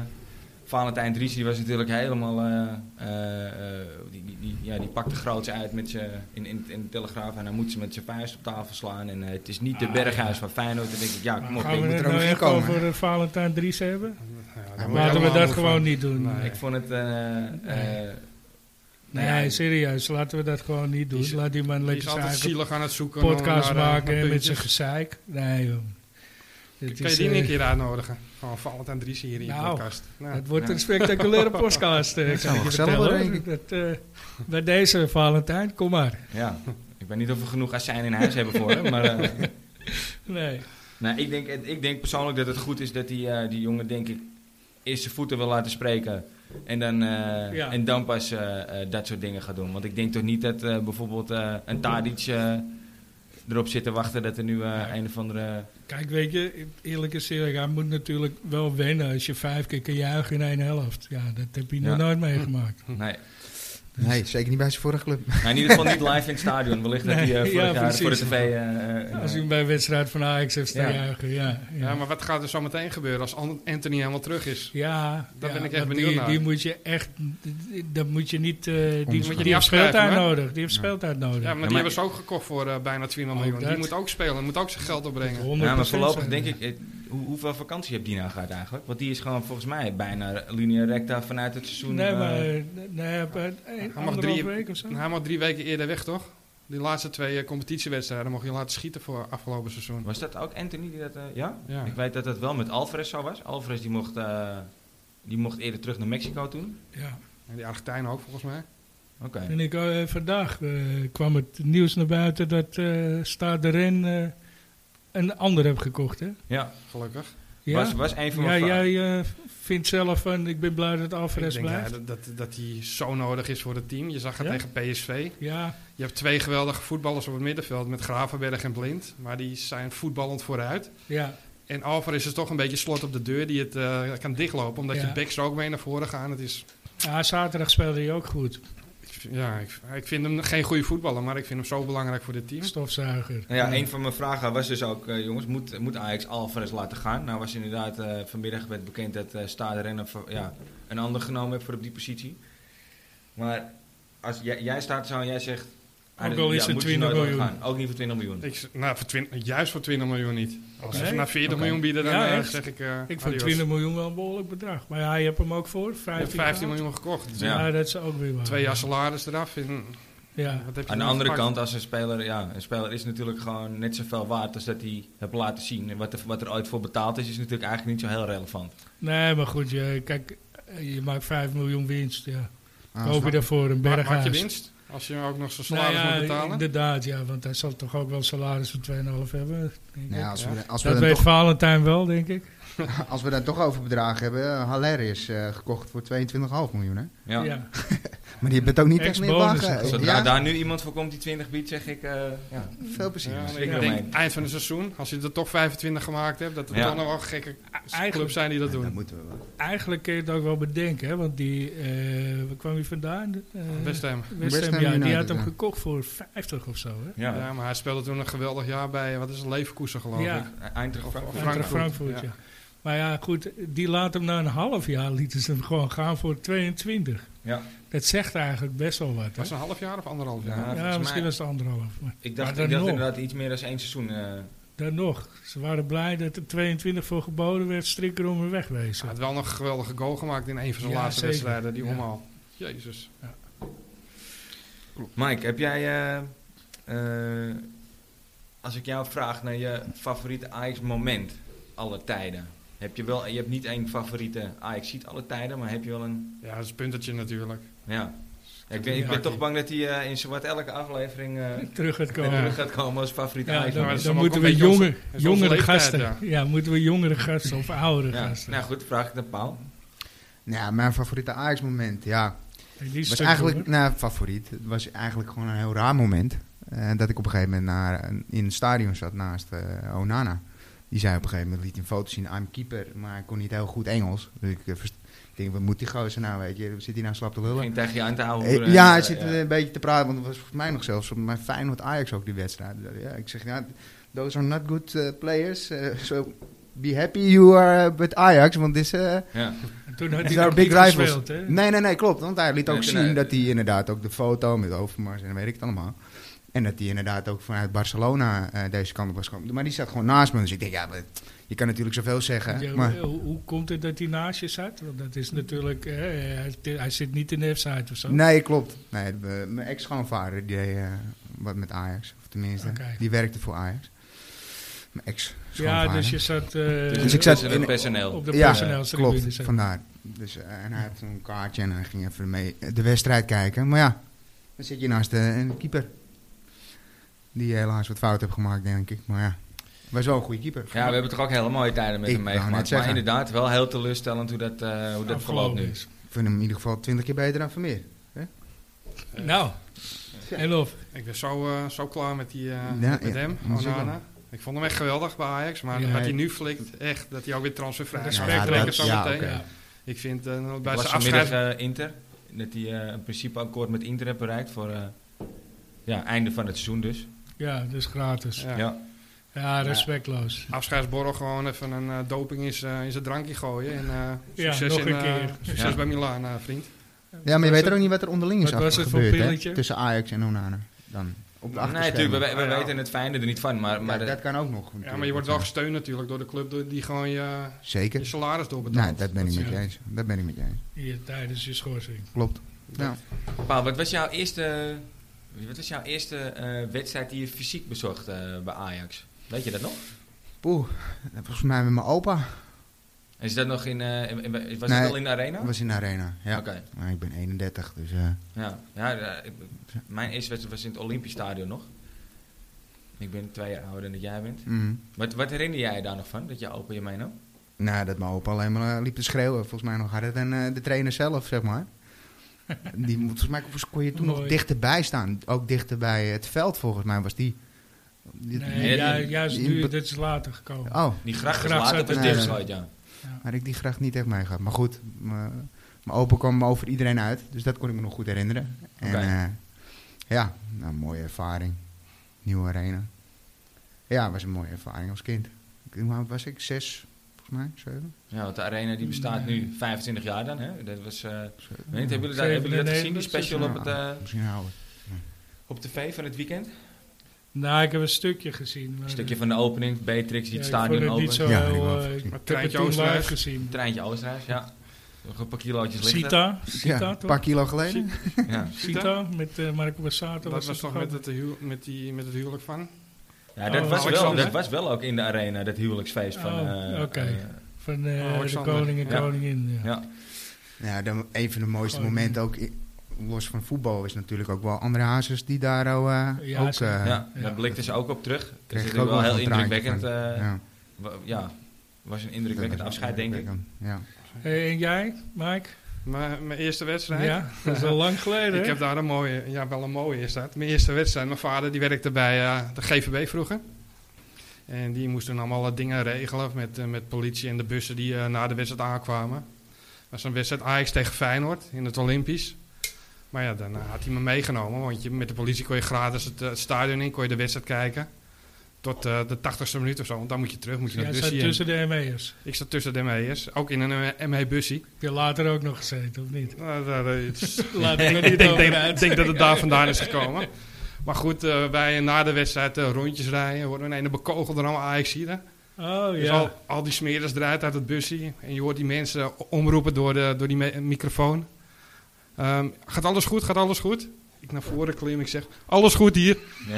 Speaker 1: Valentijn Dries, die was natuurlijk helemaal, eh, eh, eh, die, die, die- ja, die pakte groots uit met zijn in, in, in de Telegraaf en dan moet ze met zijn vuist op tafel slaan. En eh, het is niet de
Speaker 2: Ah,
Speaker 1: Berghuis van Feyenoord. Dan denk ik, ja,
Speaker 2: Maar
Speaker 1: kom op.
Speaker 2: gaan
Speaker 1: ik
Speaker 2: we
Speaker 1: moet-
Speaker 2: het
Speaker 4: er ook
Speaker 2: nou
Speaker 4: niet
Speaker 2: echt
Speaker 4: komen.
Speaker 2: over eh, Valentijn Dries hebben?
Speaker 3: Ja, daar word
Speaker 4: Maar
Speaker 2: Laten
Speaker 3: je
Speaker 2: we
Speaker 3: helemaal
Speaker 2: dat
Speaker 3: moe
Speaker 2: gewoon
Speaker 3: van.
Speaker 2: niet doen.
Speaker 3: Nee.
Speaker 2: Nee,
Speaker 1: Ik vond het, eh,
Speaker 2: Nee.
Speaker 1: eh, nou ja,
Speaker 2: nee, serieus, laten we dat gewoon niet doen.
Speaker 3: Die is-
Speaker 2: Laat die man
Speaker 3: Die is
Speaker 2: lekker zijn
Speaker 3: altijd
Speaker 2: eigen
Speaker 3: zielig aan het zoeken.
Speaker 2: podcast
Speaker 3: naar, eh,
Speaker 2: maken
Speaker 3: naar
Speaker 2: en met
Speaker 3: puntjes.
Speaker 2: zijn gezeik. Nee, jongen. Dit
Speaker 3: Kan je
Speaker 2: is,
Speaker 3: die
Speaker 2: eh,
Speaker 3: een keer uitnodigen? Gewoon vallend aan Dries hier in je
Speaker 2: Nou,
Speaker 3: podcast. Nou,
Speaker 2: Het wordt
Speaker 1: Ja.
Speaker 2: een spectaculaire podcast, eh, kan ik
Speaker 4: wel
Speaker 2: je
Speaker 4: gezellig
Speaker 2: vertellen.
Speaker 4: worden,
Speaker 2: hoor. Dat, eh, bij deze Valentijn, kom maar.
Speaker 1: ja. Ik weet niet of we genoeg azijn in huis hebben voor hem. Maar eh,
Speaker 2: Nee.
Speaker 1: nou, ik, denk, ik denk persoonlijk dat het goed is dat die, eh, die jongen, denk ik, eerst zijn voeten wil laten spreken. En dan, eh,
Speaker 2: Ja.
Speaker 1: en dan pas eh, eh, dat soort dingen gaat doen. Want ik denk toch niet dat eh, bijvoorbeeld eh, een Tadic eh, erop zit te wachten dat er nu eh,
Speaker 2: Nee.
Speaker 1: een of andere...
Speaker 2: Kijk, weet je, eerlijk is eerlijk, hij moet natuurlijk wel wennen als je vijf keer kan juichen in één helft. Ja, dat heb je
Speaker 1: Ja.
Speaker 2: nog nooit meegemaakt.
Speaker 1: Nee.
Speaker 4: Nee, zeker niet bij zijn vorige club.
Speaker 1: Nou, in ieder geval niet live in het stadion. Wellicht dat hij eh,
Speaker 2: Nee,
Speaker 1: vorig
Speaker 2: ja,
Speaker 1: jaar voor de
Speaker 2: precies.
Speaker 1: tv... eh, eh,
Speaker 2: Als u bij een wedstrijd van Ajax heeft staan
Speaker 1: Ja.
Speaker 2: juichen, ja. Ja,
Speaker 3: Ja, maar wat gaat er zo meteen gebeuren als An- Anthony helemaal terug is?
Speaker 2: Ja,
Speaker 3: Daar
Speaker 2: ja,
Speaker 3: ben ik echt
Speaker 2: want
Speaker 3: benieuwd
Speaker 2: die,
Speaker 3: naar.
Speaker 2: die moet je echt, dat moet je niet, eh, die,
Speaker 4: moet je
Speaker 2: moet je
Speaker 4: niet
Speaker 2: die heeft
Speaker 3: afschrijven,
Speaker 2: speeltijd
Speaker 3: hè?
Speaker 2: nodig. Die heeft speeltijd nodig.
Speaker 3: Ja, maar
Speaker 1: maar-
Speaker 3: die hebben ze ook gekocht voor eh, bijna 200 miljoen.
Speaker 2: Ook
Speaker 3: Die
Speaker 2: Oh, dat.
Speaker 3: moet ook spelen, moet ook zijn geld opbrengen.
Speaker 2: 100%
Speaker 1: Ja, maar voorlopig
Speaker 2: zijn.
Speaker 1: denk ik, eh, hoe, hoeveel vakantie heb die nou gehad eigenlijk? Want die is gewoon volgens mij bijna linea recta vanuit het seizoen.
Speaker 2: Nee,
Speaker 1: eh,
Speaker 2: maar eh, nee, maar een
Speaker 3: mag
Speaker 2: anderhalf
Speaker 3: drie-
Speaker 2: week of zo.
Speaker 3: En Hij mag drie weken eerder weg, toch? Die laatste twee eh, competitiewedstrijden mocht je laten schieten voor afgelopen seizoen.
Speaker 1: was dat ook Anthony die dat... eh, ja?
Speaker 3: Ja.
Speaker 1: Ik weet dat dat wel met Alvarez zo was. Alvarez die mocht, eh, die mocht eerder terug naar Mexico toen.
Speaker 2: Ja.
Speaker 3: En die Argentijnen ook, volgens mij.
Speaker 1: Oké.
Speaker 2: En ik, eh, vandaag eh, kwam het nieuws naar buiten dat eh Stade Ren eh, een ander heb gekocht, hè?
Speaker 1: Ja,
Speaker 3: Gelukkig.
Speaker 2: Ja,
Speaker 1: Was, was een van
Speaker 2: ja
Speaker 1: mijn vragen.
Speaker 2: jij eh, vindt zelf van, ik ben blij dat Alvarez
Speaker 3: ik denk ja,
Speaker 2: blijft.
Speaker 3: dat, dat, dat die zo nodig is voor het team. Je zag het
Speaker 2: Ja?
Speaker 3: tegen PSV.
Speaker 2: Ja,
Speaker 3: Je hebt twee geweldige voetballers op het middenveld met Gravenberg en Blind. Maar die zijn voetballend vooruit.
Speaker 2: ja,
Speaker 3: En Alvarez is toch een beetje slot op de deur die het eh, kan dichtlopen. Omdat
Speaker 2: Ja.
Speaker 3: je backs er ook mee naar voren gaan. Het is,
Speaker 2: ja. Zaterdag speelde hij ook goed.
Speaker 3: ik vind- ja, ik, ik vind hem geen goede voetballer, maar ik vind hem zo belangrijk voor dit team.
Speaker 2: Stofzuiger.
Speaker 1: Nou ja, een van mijn vragen was dus ook, eh, jongens, moet, moet Ajax Alvarez laten gaan? Nou was inderdaad, eh, vanmiddag werd bekend dat eh Stade Renner ja, een ander genomen heeft voor op die positie. Maar als jij, jij staat zo en jij zegt...
Speaker 2: Ook al is het
Speaker 1: moet je ze
Speaker 2: 20
Speaker 1: nooit laten
Speaker 2: miljoen.
Speaker 1: gaan. Ook niet voor 20 miljoen.
Speaker 3: Ik, z- nou, voor 20 juist voor 20 miljoen niet. Als ze
Speaker 2: Oké.
Speaker 3: naar 40
Speaker 1: Oké.
Speaker 3: miljoen bieden, dan
Speaker 2: Ja,
Speaker 3: eh,
Speaker 2: echt?
Speaker 3: zeg ik. eh
Speaker 2: Ik vond
Speaker 3: adios.
Speaker 2: 20 miljoen wel een behoorlijk bedrag. Maar ja, je hebt hem ook voor, 15,
Speaker 3: 15
Speaker 2: miljoen.
Speaker 3: miljoen gekocht.
Speaker 1: Ja.
Speaker 2: Ja, dat is ook weer waar.
Speaker 3: Twee jaar salaris eraf. En,
Speaker 2: Ja,
Speaker 3: wat heb je
Speaker 1: Aan de
Speaker 3: dan
Speaker 1: andere
Speaker 3: gepakt?
Speaker 1: kant, als een speler, ja, een speler is natuurlijk gewoon net zoveel waard als dat hij hebt laten zien. En wat er, wat er ooit voor betaald is, is natuurlijk eigenlijk niet zo heel relevant.
Speaker 2: nee, maar goed, je, kijk, eh, je maakt 5 miljoen winst, ja.
Speaker 4: Ah,
Speaker 2: Koop je daarvoor een
Speaker 3: Ma- Maak je
Speaker 2: berghuis.
Speaker 3: winst als je ook nog zijn
Speaker 2: Nou
Speaker 3: salaris
Speaker 2: ja,
Speaker 3: moet betalen.
Speaker 2: Inderdaad, ja, want hij zal toch ook wel een salaris van 2,5 hebben. denk
Speaker 4: Nou ja,
Speaker 2: ik.
Speaker 4: als, we, als, we
Speaker 2: dat
Speaker 4: dan
Speaker 2: weet
Speaker 4: toch,
Speaker 2: Valentijn wel, denk ik.
Speaker 4: als we dan toch over bedragen hebben, eh, Haller is eh, gekocht voor 22,5 miljoen. Hè?
Speaker 1: Ja.
Speaker 4: Maar die bent ook niet echt meer
Speaker 2: Ex-bonus.
Speaker 4: lachen.
Speaker 1: Zodra
Speaker 4: Ja,
Speaker 1: daar nu iemand voor komt die 20 biedt, zeg ik... eh, ja.
Speaker 4: veel plezier.
Speaker 3: Ja,
Speaker 1: Ik
Speaker 3: ik
Speaker 1: wil
Speaker 3: denk
Speaker 1: mee.
Speaker 3: eind van het seizoen, als je er toch 25 gemaakt hebt, dat er
Speaker 1: Ja.
Speaker 3: dan nog wel gekke
Speaker 2: Eigenlijk-
Speaker 3: clubs zijn die dat
Speaker 4: dat
Speaker 3: doen.
Speaker 4: moeten we wel.
Speaker 2: Eigenlijk kun je het ook wel bedenken, hè, want die, eh waar kwam hij vandaan? Eh,
Speaker 3: West Ham.
Speaker 2: West Ham,
Speaker 4: West Ham
Speaker 2: ja, die
Speaker 4: United,
Speaker 2: had hem
Speaker 4: ja.
Speaker 2: gekocht voor 50 of zo, hè?
Speaker 1: Ja.
Speaker 3: Ja. maar hij speelde toen een geweldig jaar bij, eh, wat is het, Leverkusen geloof
Speaker 2: Ja.
Speaker 3: ik.
Speaker 1: Eindracht
Speaker 3: Of-
Speaker 1: eh, Frankfurt.
Speaker 3: of
Speaker 2: Frankfurt,
Speaker 3: Frankfurt,
Speaker 2: Frankfurt ja.
Speaker 3: ja.
Speaker 2: Maar ja, goed, die laat hem na een half jaar lieten ze hem gewoon gaan voor 22.
Speaker 1: Ja.
Speaker 2: Dat zegt eigenlijk best wel wat. Hè?
Speaker 3: Was het een half jaar of anderhalf
Speaker 1: Ja.
Speaker 3: jaar?
Speaker 2: Ja,
Speaker 1: volgens mij-
Speaker 2: misschien was het anderhalf. Maar
Speaker 1: Ik dacht,
Speaker 2: Maar dan
Speaker 1: ik dacht
Speaker 2: nog.
Speaker 1: inderdaad iets meer dan één seizoen. eh.
Speaker 2: dan nog, ze waren blij dat er 22 voor geboden werd, strikker om hem
Speaker 3: Hij
Speaker 2: wegwezen.
Speaker 3: had wel nog een geweldige goal gemaakt in een van zijn
Speaker 2: Ja,
Speaker 3: laatste
Speaker 2: zeker.
Speaker 3: wedstrijden, die
Speaker 2: Ja.
Speaker 3: omhaal. Jezus.
Speaker 1: Mike, heb jij... eh, eh, als ik jou vraag naar je favoriete Ajax-moment alle tijden... Heb je, wel, je hebt niet één favoriete Ajax ziet alle tijden, maar heb je wel een...
Speaker 3: Ja, dat is een puntertje natuurlijk.
Speaker 1: Ja. Ja, ik ben, ik ben toch bang dat hij eh, in zowat elke aflevering eh,
Speaker 2: Terug het komen.
Speaker 1: terug gaat komen als favoriete
Speaker 2: Ja,
Speaker 1: Ajax.
Speaker 2: dan,
Speaker 3: maar dat is
Speaker 2: dan
Speaker 3: dan ook
Speaker 2: moeten
Speaker 3: een
Speaker 2: we
Speaker 3: beetje
Speaker 2: jonge,
Speaker 3: onze- is
Speaker 2: jongere
Speaker 3: onze leeftijd,
Speaker 2: gasten. Ja.
Speaker 3: ja.
Speaker 2: moeten we jongere gasten of oudere
Speaker 1: Ja,
Speaker 2: gasten.
Speaker 1: nou goed, vraag ik naar Paul.
Speaker 4: Nou, mijn favoriete Ajax-moment, ja.
Speaker 2: Die is
Speaker 4: was
Speaker 2: stuk
Speaker 4: eigenlijk,
Speaker 2: hoor.
Speaker 4: nou, favoriet. Het was eigenlijk gewoon een heel raar moment. eh, dat ik op een gegeven moment naar, in het stadion zat naast eh, Onana. Die zei op een gegeven moment, liet een foto zien, I'm keeper. Maar ik kon niet heel goed Engels. Dus ik eh, verst- ik denk, wat moet die gozer nou, weet je? Zit hij nou slap te lullen?
Speaker 1: Ging tegen je aan te houden.
Speaker 4: Eh,
Speaker 1: hoor, en,
Speaker 4: ja, hij
Speaker 1: eh,
Speaker 4: zit
Speaker 1: ja.
Speaker 4: een beetje te praten, want het was volgens mij nog zelfs op mijn Feyenoord Ajax ook die wedstrijd. Eh, Ja, ik zeg, ja, those are not good eh, players. Eh, so be happy you are with Ajax, want dit is... eh,
Speaker 1: Ja.
Speaker 2: En toen had
Speaker 4: These
Speaker 2: hij
Speaker 4: are
Speaker 2: nog
Speaker 4: big
Speaker 2: niet
Speaker 4: rivals.
Speaker 2: gespeeld, hè?
Speaker 4: Nee, nee, nee, klopt. Want hij liet ook
Speaker 1: Mm. Nee,
Speaker 4: zien
Speaker 1: nee.
Speaker 4: dat hij inderdaad ook de foto met Overmars en weet ik het allemaal. En dat hij inderdaad ook vanuit Barcelona eh, deze kant op was gekomen. Maar die zat gewoon naast me. Dus ik denk, ja, wat- je kan natuurlijk zoveel zeggen.
Speaker 2: Ja,
Speaker 4: maar,
Speaker 2: hoe, hoe komt het dat hij naast je zat? Want dat is natuurlijk, eh, hij, hij zit niet in de website of zo.
Speaker 4: nee, klopt. Nee, de- mijn ex-schoonvader die deed eh, wat met Ajax. Of tenminste,
Speaker 2: Oké.
Speaker 4: die werkte voor Ajax. Mijn
Speaker 2: ja,
Speaker 4: ex-schoonvader.
Speaker 2: dus je zat eh,
Speaker 4: Dus ik zat
Speaker 1: tussen het
Speaker 4: in-
Speaker 1: personeel.
Speaker 2: op de
Speaker 4: Ja,
Speaker 2: personeelstribune.
Speaker 4: Klopt,
Speaker 2: zat.
Speaker 4: vandaar. Dus, eh, en hij had een kaartje en hij eh, ging even mee de wedstrijd kijken. Maar ja, dan zit je naast de, een keeper. eh, Die helaas wat fout heeft gemaakt, denk ik. Maar ja, was wel een goede keeper.
Speaker 1: Ja, we hebben toch ook hele mooie tijden met
Speaker 4: Ik
Speaker 1: hem
Speaker 4: wou net
Speaker 1: meegemaakt. Maar
Speaker 4: zeggen.
Speaker 1: inderdaad, wel heel teleurstellend hoe dat, eh, hoe dat verloopt nu.
Speaker 2: is.
Speaker 4: Ik vind hem in ieder geval twintig keer beter dan Vermeer.
Speaker 3: Eh,
Speaker 2: Nou, en of.
Speaker 3: Ik ben zo, eh, zo klaar met, die, eh,
Speaker 4: Ja,
Speaker 3: met
Speaker 4: ja,
Speaker 3: hem,
Speaker 4: moet je
Speaker 3: Onana. Ik vond hem echt geweldig bij Ajax. Maar
Speaker 2: Ja,
Speaker 3: wat hij
Speaker 4: hij-
Speaker 3: nu flikt, echt, dat hij ook weer transfervrij is.
Speaker 2: Ja,
Speaker 3: Maar ik
Speaker 2: ja,
Speaker 3: denk
Speaker 2: dat-
Speaker 3: het zo
Speaker 4: ja,
Speaker 3: meteen.
Speaker 4: oké.
Speaker 2: Ja.
Speaker 3: Ik vind eh, bij
Speaker 1: was
Speaker 3: zijn
Speaker 1: vanmiddag
Speaker 3: afscheid...
Speaker 1: eh, Inter. Dat hij eh, een principe akkoord met Inter heeft bereikt voor eh, ja, einde van het seizoen dus.
Speaker 2: Ja, dus gratis.
Speaker 3: ja,
Speaker 1: Ja.
Speaker 2: Ja, respectloos.
Speaker 3: Afscheidsborrel gewoon even een eh, doping in zijn in zijn drankje gooien. En eh,
Speaker 2: Ja,
Speaker 3: succes,
Speaker 2: nog
Speaker 3: in,
Speaker 2: een
Speaker 3: eh,
Speaker 2: keer.
Speaker 3: succes
Speaker 1: Ja.
Speaker 3: bij Milaan, eh, vriend.
Speaker 4: Ja, maar je weet
Speaker 2: er
Speaker 4: er ook niet wat er onderling is
Speaker 2: wat was
Speaker 4: achter
Speaker 2: het voor
Speaker 4: gebeurd, hè,
Speaker 2: pilletje?
Speaker 4: Tussen Ajax en Onana. Dan op de
Speaker 1: Nee, natuurlijk, we,
Speaker 4: achterschermen.
Speaker 1: we
Speaker 3: Ah, ja.
Speaker 1: weten het fijne er niet van. Maar, maar
Speaker 4: Ja,
Speaker 1: de-
Speaker 4: dat kan ook nog.
Speaker 3: Ja, maar je wordt wel gesteund natuurlijk door de club door- die gewoon je, je
Speaker 4: Zeker.
Speaker 3: salaris doorbetaalt.
Speaker 4: Nou, dat ben ik
Speaker 2: Dat
Speaker 4: met
Speaker 2: is-
Speaker 4: je eens. Dat ben ik met je eens.
Speaker 2: Hier tijdens je schorsing.
Speaker 4: Klopt. Ja.
Speaker 1: eh, Paul, wat was jouw eerste, wat was jouw eerste eh, wedstrijd die je fysiek bezocht eh, bij Ajax? Weet je dat nog?
Speaker 4: Poeh, volgens mij met mijn opa.
Speaker 1: En Is dat nog in, eh, in- in- was
Speaker 4: Nee.
Speaker 1: het al in de arena?
Speaker 4: Dat was in de arena. Ja.
Speaker 1: Oké.
Speaker 4: Maar ik ben 31, dus... eh,
Speaker 1: Ja, ja, ja, ik- mijn eerste wedstrijd was in het Olympisch Stadion nog. Ik ben twee jaar ouder dan dat jij bent.
Speaker 4: mm.
Speaker 1: Wat, wat herinner jij je daar nog van, dat je opa je meenam?
Speaker 4: Nou, dat mijn opa alleen maar eh, liep te schreeuwen. Volgens mij nog harder dan eh, de trainer zelf, zeg maar. Die, moet- volgens mij kon je toen nog
Speaker 2: Mooi.
Speaker 4: dichterbij staan. Ook dichter bij het veld, volgens mij, was die. Die-
Speaker 2: Nee,
Speaker 1: Nee,
Speaker 2: ju-
Speaker 1: die-
Speaker 2: juist
Speaker 4: die-
Speaker 2: nu, dit is later gekomen.
Speaker 4: Oh,
Speaker 1: Die gracht was
Speaker 2: Gracht
Speaker 1: later
Speaker 2: zat
Speaker 1: pas
Speaker 4: er-
Speaker 1: dichtgegooid, ja.
Speaker 4: had ik die graag niet echt meegehad. Maar goed, mijn mijn opa kwam over iedereen uit. Dus dat kon ik me nog goed herinneren. En
Speaker 1: Oké.
Speaker 4: eh, ja, nou, mooie ervaring. Nieuwe arena. Ja, was een mooie ervaring als kind. Ik- Hoe oud was ik? Zes, volgens mij? Zeven?
Speaker 1: Ja, want de arena die bestaat nu 25 jaar dan, hè. Dat was... eh,
Speaker 4: Zeven.
Speaker 1: weet niet, hebben, jullie dat, hebben jullie dat gezien, die
Speaker 2: 97,
Speaker 1: special op, het, eh,
Speaker 4: Misschien ouder.
Speaker 1: op tv van het weekend?
Speaker 2: Nou, ik heb een stukje gezien. maar- eh,
Speaker 1: Een stukje van de opening, Beatrix die
Speaker 2: Ja,
Speaker 1: het
Speaker 2: ik
Speaker 1: stadion
Speaker 2: vond het niet
Speaker 1: opent.
Speaker 2: zo
Speaker 4: Ja, ik
Speaker 2: heel...
Speaker 4: wou-
Speaker 2: eh, ik
Speaker 4: Maar
Speaker 2: heb het
Speaker 3: Treintje
Speaker 2: toen live
Speaker 3: Oosterhuis?
Speaker 2: gezien.
Speaker 1: Treintje Oostenrijk, ja. Nog een paar kilootjes lichter.
Speaker 2: Sita. Sita,
Speaker 4: Ja, een paar
Speaker 2: toch?
Speaker 4: kilo geleden.
Speaker 1: Ja.
Speaker 2: Sita, met eh, Marco Bassato.
Speaker 3: Dat was,
Speaker 2: het
Speaker 3: toch met het, huw- met, die, met het huwelijk van?
Speaker 1: Ja, dat, was
Speaker 2: Oh,
Speaker 1: wel,
Speaker 3: Alexander,
Speaker 1: dat
Speaker 3: hè?
Speaker 1: was wel ook in de arena, dat huwelijksfeest van...
Speaker 2: Oh,
Speaker 1: eh,
Speaker 2: oké.
Speaker 1: eh,
Speaker 2: Van eh,
Speaker 3: Oh,
Speaker 2: de
Speaker 3: Alexander.
Speaker 2: koning en
Speaker 1: Ja.
Speaker 2: koningin. Ja.
Speaker 1: Ja.
Speaker 4: Ja, dan een van de mooiste
Speaker 2: Gewoon-
Speaker 4: momenten ook. i- Los van voetbal is natuurlijk ook wel andere hazes die daar al, eh,
Speaker 2: Ja,
Speaker 4: ook...
Speaker 2: zeker.
Speaker 4: eh,
Speaker 1: ja,
Speaker 2: ja.
Speaker 1: daar blikten ze ook op terug. Dat
Speaker 4: Kreeg
Speaker 1: is
Speaker 4: ik ook
Speaker 1: natuurlijk wel
Speaker 4: wel
Speaker 1: heel
Speaker 4: een traantje
Speaker 1: indrukwekkend. eh,
Speaker 4: ja.
Speaker 1: wa- ja, was een indrukwekkend afscheid, denk ik.
Speaker 4: Ja.
Speaker 2: Hey, Eh, en jij, Mike?
Speaker 3: Mijn, mijn eerste wedstrijd?
Speaker 2: Ja, dat is al lang geleden.
Speaker 3: Ik heb daar een mooie, ja wel een mooie is dat. Mijn eerste wedstrijd, mijn vader die werkte bij eh, de GVB vroeger. En die moest toen allemaal wat dingen regelen met, eh, met politie en de bussen die eh, na de wedstrijd aankwamen. Dat was een wedstrijd Ajax tegen Feyenoord in het Olympisch. Maar ja, dan eh, had hij me meegenomen, want je, met de politie kon je gratis het, eh, het stadion in, kon je de wedstrijd kijken. Tot eh, de 80ste minuut of zo, want dan moet je terug, moet je naar
Speaker 2: Jij
Speaker 3: het
Speaker 2: zat
Speaker 3: busje in.
Speaker 2: tussen de ME'ers.
Speaker 3: Ik zat tussen de ME'ers, ook in een ME-bussie.
Speaker 2: Heb je later ook nog gezeten, of niet?
Speaker 3: Nou, daar, eh,
Speaker 2: Laat ik er
Speaker 3: ik
Speaker 2: niet
Speaker 3: denk,
Speaker 2: over
Speaker 3: denk-
Speaker 2: uit.
Speaker 3: denk dat het daar vandaan is gekomen. Maar goed, eh, wij na de wedstrijd eh, rondjes rijden. Worden we in ene bekogeld door allemaal ajax hier.
Speaker 2: Oh
Speaker 3: Dus
Speaker 2: ja.
Speaker 3: al, al die smeerders eruit uit het busje. En je hoort die mensen omroepen door, de, door die me- microfoon. Ehm, gaat alles goed? Gaat alles goed? Ik naar voren klim, ik zeg, alles goed hier. ja,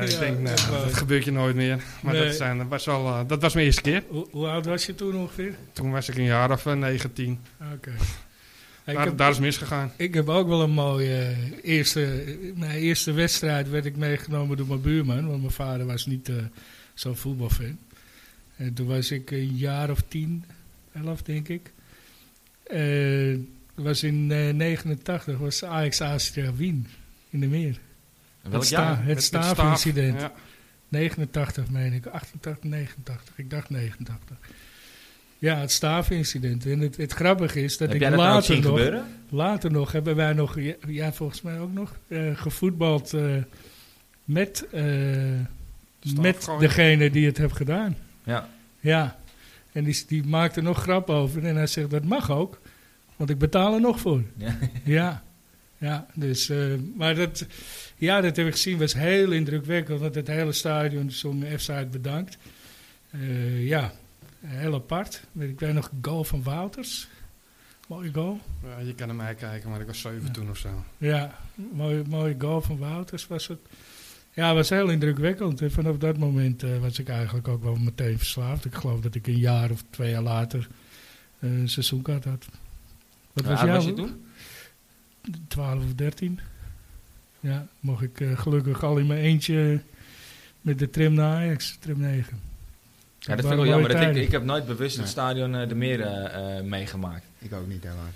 Speaker 3: ik
Speaker 2: Ja,
Speaker 3: denk, nou,
Speaker 2: dat
Speaker 3: dat
Speaker 2: was-
Speaker 3: gebeurt je nooit meer. Maar
Speaker 2: Nee.
Speaker 3: dat, zijn, dat, was wel, eh, dat was mijn eerste keer.
Speaker 2: Hoe, hoe oud was je toen ongeveer?
Speaker 3: Toen was ik een jaar of eh, 19.
Speaker 2: Oké. Ik,
Speaker 3: Daar,
Speaker 2: heb,
Speaker 3: daar is misgegaan.
Speaker 2: ik heb ook wel een mooie eh, eerste, eh, mijn eerste wedstrijd werd ik meegenomen door mijn buurman, want mijn vader was niet eh, zo'n voetbalfan. En toen was ik een jaar of tien, elf denk ik. Eh, Het was in eh, 89 was Ajax Austria Wien in de meer.
Speaker 1: En Welk
Speaker 2: het
Speaker 1: jaar?
Speaker 2: sta,
Speaker 3: Met-
Speaker 2: het
Speaker 3: met staaf.
Speaker 2: staafincident.
Speaker 3: Ja.
Speaker 2: 89 meen ik, 88, 89. Ik dacht 89. Ja, het staafincident. En het, het grappige is dat
Speaker 1: Heb
Speaker 2: ik
Speaker 1: jij dat nou ook
Speaker 2: later,
Speaker 1: zien
Speaker 2: nog,
Speaker 1: gebeuren?
Speaker 2: later nog hebben wij nog, ja, ja, volgens mij ook nog, eh, gevoetbald eh, met, eh, met
Speaker 3: Staafgooien.
Speaker 2: degene die het heeft gedaan.
Speaker 1: Ja.
Speaker 2: Ja, en die, die maakte nog grap over. En hij zegt, dat mag ook, want ik betaal er nog voor.
Speaker 1: Ja.
Speaker 2: Ja, ja dus, eh, maar dat, ja, dat heb ik gezien, was heel indrukwekkend. Want het hele stadion zong f uit bedankt. Eh, ja, heel apart. Weet Ik weet nog een goal van Wouters. Mooie goal.
Speaker 3: Ja, je kan naar mij kijken, maar ik was 7
Speaker 2: Ja.
Speaker 3: toen of zo.
Speaker 2: Ja, mooie, mooie goal van Wouters was het. Ja, was heel indrukwekkend. En vanaf dat moment eh, was ik eigenlijk ook wel meteen verslaafd. Ik geloof dat ik een jaar of twee jaar later eh, een seizoenkaart had. Wat
Speaker 1: Hoe
Speaker 2: was
Speaker 1: oud
Speaker 2: jij
Speaker 1: was je toen?
Speaker 2: 12 of 13. Ja, mocht ik eh, gelukkig al in mijn eentje met de tram naar Ajax, tram 9.
Speaker 1: Ja, dat vind
Speaker 2: waren
Speaker 1: ik wel
Speaker 2: mooie
Speaker 1: jammer. Dat ik,
Speaker 2: tijden.
Speaker 1: ik heb nooit bewust het
Speaker 4: Nee.
Speaker 1: stadion eh, de meren eh, eh, meegemaakt.
Speaker 4: Ik ook niet, helaas.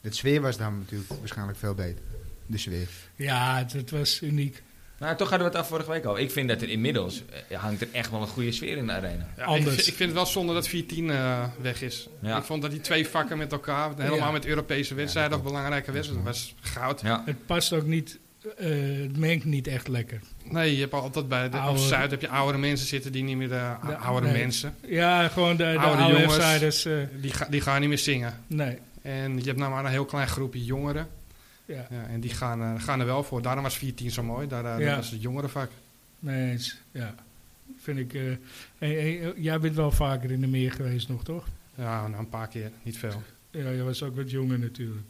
Speaker 4: De sfeer was dan natuurlijk waarschijnlijk veel beter. De sfeer.
Speaker 2: Ja, het, het was uniek.
Speaker 1: Maar Nou, toch hadden we het af vorige week al. Ik vind dat er inmiddels eh, hangt er echt wel een goede sfeer in de arena.
Speaker 3: Ja,
Speaker 2: Anders.
Speaker 3: Ik, ik vind het wel zonde dat 4-10 eh, weg is.
Speaker 1: Ja.
Speaker 3: Ik vond dat die twee vakken met elkaar, helemaal
Speaker 2: Ja.
Speaker 3: met Europese wedstrijden,
Speaker 4: dat
Speaker 3: of belangrijke wedstrijden, dat was goud.
Speaker 1: Ja.
Speaker 2: Het past ook niet, eh, het mengt niet echt lekker.
Speaker 3: Nee, je hebt altijd bij de op
Speaker 2: Oude-
Speaker 3: Zuid heb je oudere mensen zitten die niet meer, de
Speaker 2: Ja,
Speaker 3: oudere
Speaker 2: nee.
Speaker 3: mensen,
Speaker 2: Ja, gewoon de, de
Speaker 3: Oude
Speaker 2: oude
Speaker 3: jongens.
Speaker 2: F-siders. eh,
Speaker 3: die, ga- die gaan niet meer zingen.
Speaker 2: nee,
Speaker 3: En je hebt nou maar een heel klein groepje jongeren.
Speaker 2: ja,
Speaker 3: Ja, en die gaan, eh, gaan er wel voor. Daarom was 4-10 zo mooi. Daar, eh,
Speaker 2: Ja.
Speaker 3: Dat was het jongerenvak.
Speaker 2: nee eens. Ja, vind ik. eh, hey, hey, eh, jij bent wel vaker in de meer geweest nog, toch?
Speaker 3: Ja, nou, een paar keer. Niet veel.
Speaker 2: Ja, jij was ook wat jonger natuurlijk.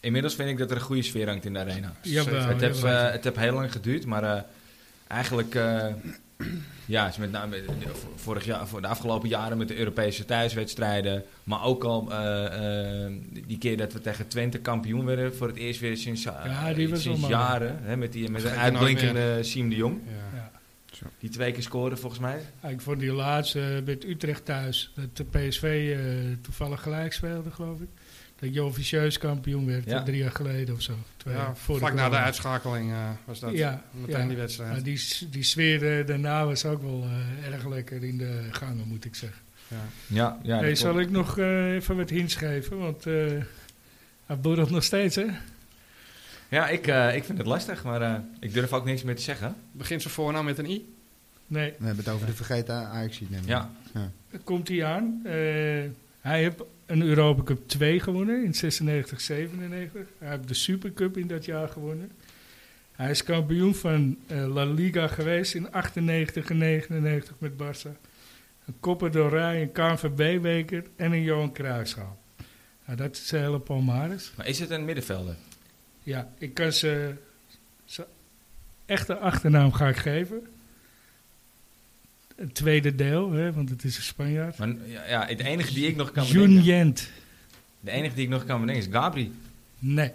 Speaker 1: Inmiddels vind ik dat er een goede sfeer hangt in de arena.
Speaker 2: Jawel,
Speaker 1: het, heeft,
Speaker 2: jawel.
Speaker 1: eh, het heeft heel lang geduurd, maar eh, eigenlijk... eh, ja, het is met name eh, de- vorig jaar, voor de afgelopen jaren met de Europese thuiswedstrijden. Maar ook al eh, eh, die keer dat we tegen Twente kampioen werden. Voor het eerst weer sinds, eh,
Speaker 2: Ja, die was
Speaker 1: sinds
Speaker 2: wel mooi.
Speaker 1: jaren. Hè, met die, met een
Speaker 3: Vergeet je nooit
Speaker 1: uitblinkende Siem de Jong.
Speaker 3: Ja.
Speaker 2: Ja.
Speaker 1: Die twee keer scoren volgens mij.
Speaker 2: Ja, Ik vond die laatste eh, met Utrecht thuis, dat de PSV eh, toevallig gelijk speelde, geloof ik. Dat je officieus kampioen werd
Speaker 1: Ja.
Speaker 2: eh, drie jaar geleden of zo. Twee
Speaker 3: Ja,
Speaker 2: jaar voor
Speaker 3: vlak na de
Speaker 2: corona.
Speaker 3: uitschakeling eh, was dat.
Speaker 2: Ja,
Speaker 3: Meteen
Speaker 2: ja.
Speaker 3: die
Speaker 2: Maar
Speaker 3: wedstrijd.
Speaker 2: die, s- die sfeer eh, daarna was ook wel eh, erg lekker in de gangen, moet ik zeggen.
Speaker 3: Ja.
Speaker 1: Ja, ja
Speaker 2: hey,
Speaker 1: dat
Speaker 2: zal
Speaker 1: klopt.
Speaker 2: ik nog eh, even wat hints geven? Want eh hij borrelt nog steeds, hè?
Speaker 1: ja ik, eh, ik vind het lastig, maar eh, ik durf ook niks meer te zeggen.
Speaker 3: Begint zijn voornaam met een I?
Speaker 2: Nee,
Speaker 4: We hebben het over de vergeten ajax nummer.
Speaker 1: Ja,
Speaker 2: komt hij aan. Eh, hij heeft een Europa Cup 2 gewonnen in 96, 97. Hij heeft de Supercup in dat jaar gewonnen. Hij is kampioen van eh, La Liga geweest in 98 en 99 met Barça. Een Copa del Rey, een KNVB-beker en een Johan Cruijffschaal. Nou, dat is zijn hele palmares.
Speaker 1: maar is het een middenvelder?
Speaker 2: Ja, ik kan ze, ze echte achternaam ga ik geven. Het tweede deel, hè, want het is een Spanjaard.
Speaker 1: Maar, ja, ja, het enige die ik nog kan bedenken,
Speaker 2: Junient.
Speaker 1: de enige die ik nog kan bedenken is Gabri.
Speaker 2: Nee,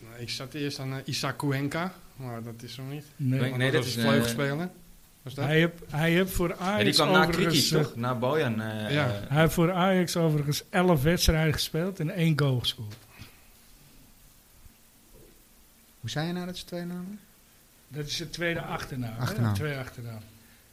Speaker 3: Nou, Ik zat eerst aan eh, Isaac Cuenca, maar dat is hem niet.
Speaker 2: nee.
Speaker 1: Nee,
Speaker 3: Want
Speaker 1: dat
Speaker 3: was
Speaker 1: is eh,
Speaker 3: een
Speaker 1: een,
Speaker 3: vleugelspeler. Was dat?
Speaker 2: Hij heeft hij heeft voor
Speaker 1: Ja, die
Speaker 2: Ajax
Speaker 1: kwam na kritisch,
Speaker 2: overigens... eh,
Speaker 1: toch? Na Bojan. eh,
Speaker 3: Ja.
Speaker 1: eh,
Speaker 2: Hij heeft voor Ajax overigens 11 wedstrijden gespeeld en één goal gescoord.
Speaker 4: Hoe zei je nou dat ze twee namen?
Speaker 2: Dat is de tweede achternaam. hè,
Speaker 4: Achternaam.
Speaker 2: Twee achternaam.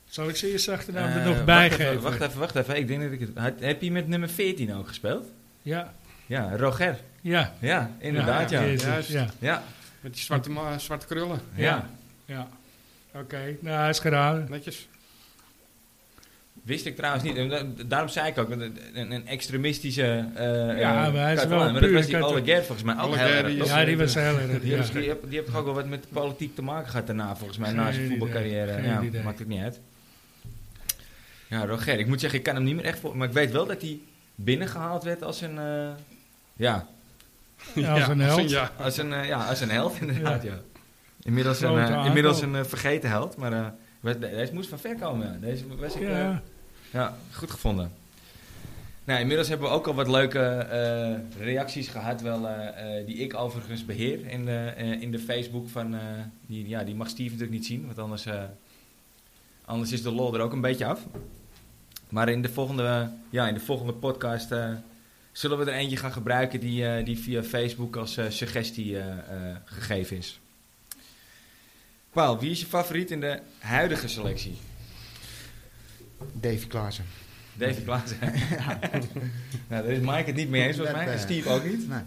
Speaker 2: Zal ik ze eerst achternaam er
Speaker 1: eh,
Speaker 2: nog
Speaker 1: wacht
Speaker 2: bij
Speaker 1: even,
Speaker 2: geven?
Speaker 1: Wacht even, wacht even. Ik denk dat ik het... had- Heb je met nummer 14 ook gespeeld?
Speaker 2: Ja,
Speaker 1: Ja, Roger.
Speaker 2: ja.
Speaker 1: Ja, inderdaad, ja.
Speaker 2: ja.
Speaker 1: Ja,
Speaker 2: Jezus,
Speaker 3: Juist.
Speaker 2: ja.
Speaker 1: ja.
Speaker 3: Met die zwarte, ma- zwarte krullen.
Speaker 2: Ja. ja. Oké, nou hij is geraden.
Speaker 3: Netjes.
Speaker 1: Wist ik trouwens niet. En da- Daarom zei ik ook, want een, een- een extremistische... eh,
Speaker 2: Ja,
Speaker 1: eh,
Speaker 2: maar hij is
Speaker 1: Catalaan.
Speaker 2: wel
Speaker 1: Maar dat
Speaker 2: puur
Speaker 1: was die
Speaker 2: Catalaan.
Speaker 1: Oleguer volgens mij ook
Speaker 3: Oleguer,
Speaker 1: heel erg,
Speaker 3: die
Speaker 1: toch?
Speaker 3: is-
Speaker 2: Ja, die was heel erg.
Speaker 1: Die,
Speaker 2: ja.
Speaker 1: is- die, heb- die heeft toch ook wel wat met politiek te maken gehad daarna, volgens mij,
Speaker 2: Geen
Speaker 1: na zijn
Speaker 2: idee.
Speaker 1: voetbalcarrière.
Speaker 2: Geen
Speaker 1: Ja,
Speaker 2: idee.
Speaker 1: maakt het niet uit. Ja, Roger, ik moet zeggen, ik kan hem niet meer echt voor. Maar ik weet wel dat hij binnengehaald werd als een. eh, ja,
Speaker 2: Ja, als een held.
Speaker 3: ja.
Speaker 1: als een, eh, ja, als een held, inderdaad. Ja. Inmiddels, een,
Speaker 2: Grote
Speaker 1: eh,
Speaker 2: aankoop.
Speaker 1: inmiddels een eh, vergeten held, maar eh, we- de- deze moest van ver komen. ja. Deze was ik, eh, ja.
Speaker 2: Ja,
Speaker 1: goed gevonden. Nou, inmiddels hebben we ook al wat leuke eh, reacties gehad, wel, eh, eh, die ik overigens beheer in de, eh, in de Facebook. Van, eh, die, ja, die mag Steve natuurlijk niet zien, want anders, eh, anders is de lol er ook een beetje af. Maar in de volgende, eh, ja, in de volgende podcast eh, zullen we er eentje gaan gebruiken die, eh, die via Facebook als eh, suggestie eh, eh, gegeven is. Paul, wie is je favoriet in de huidige selectie?
Speaker 4: Davy Klaassen.
Speaker 1: David Klaassen. nou, daar is Mike het niet mee eens, volgens
Speaker 2: eh,
Speaker 1: mij. En Steve ook niet.
Speaker 4: eh, Nee.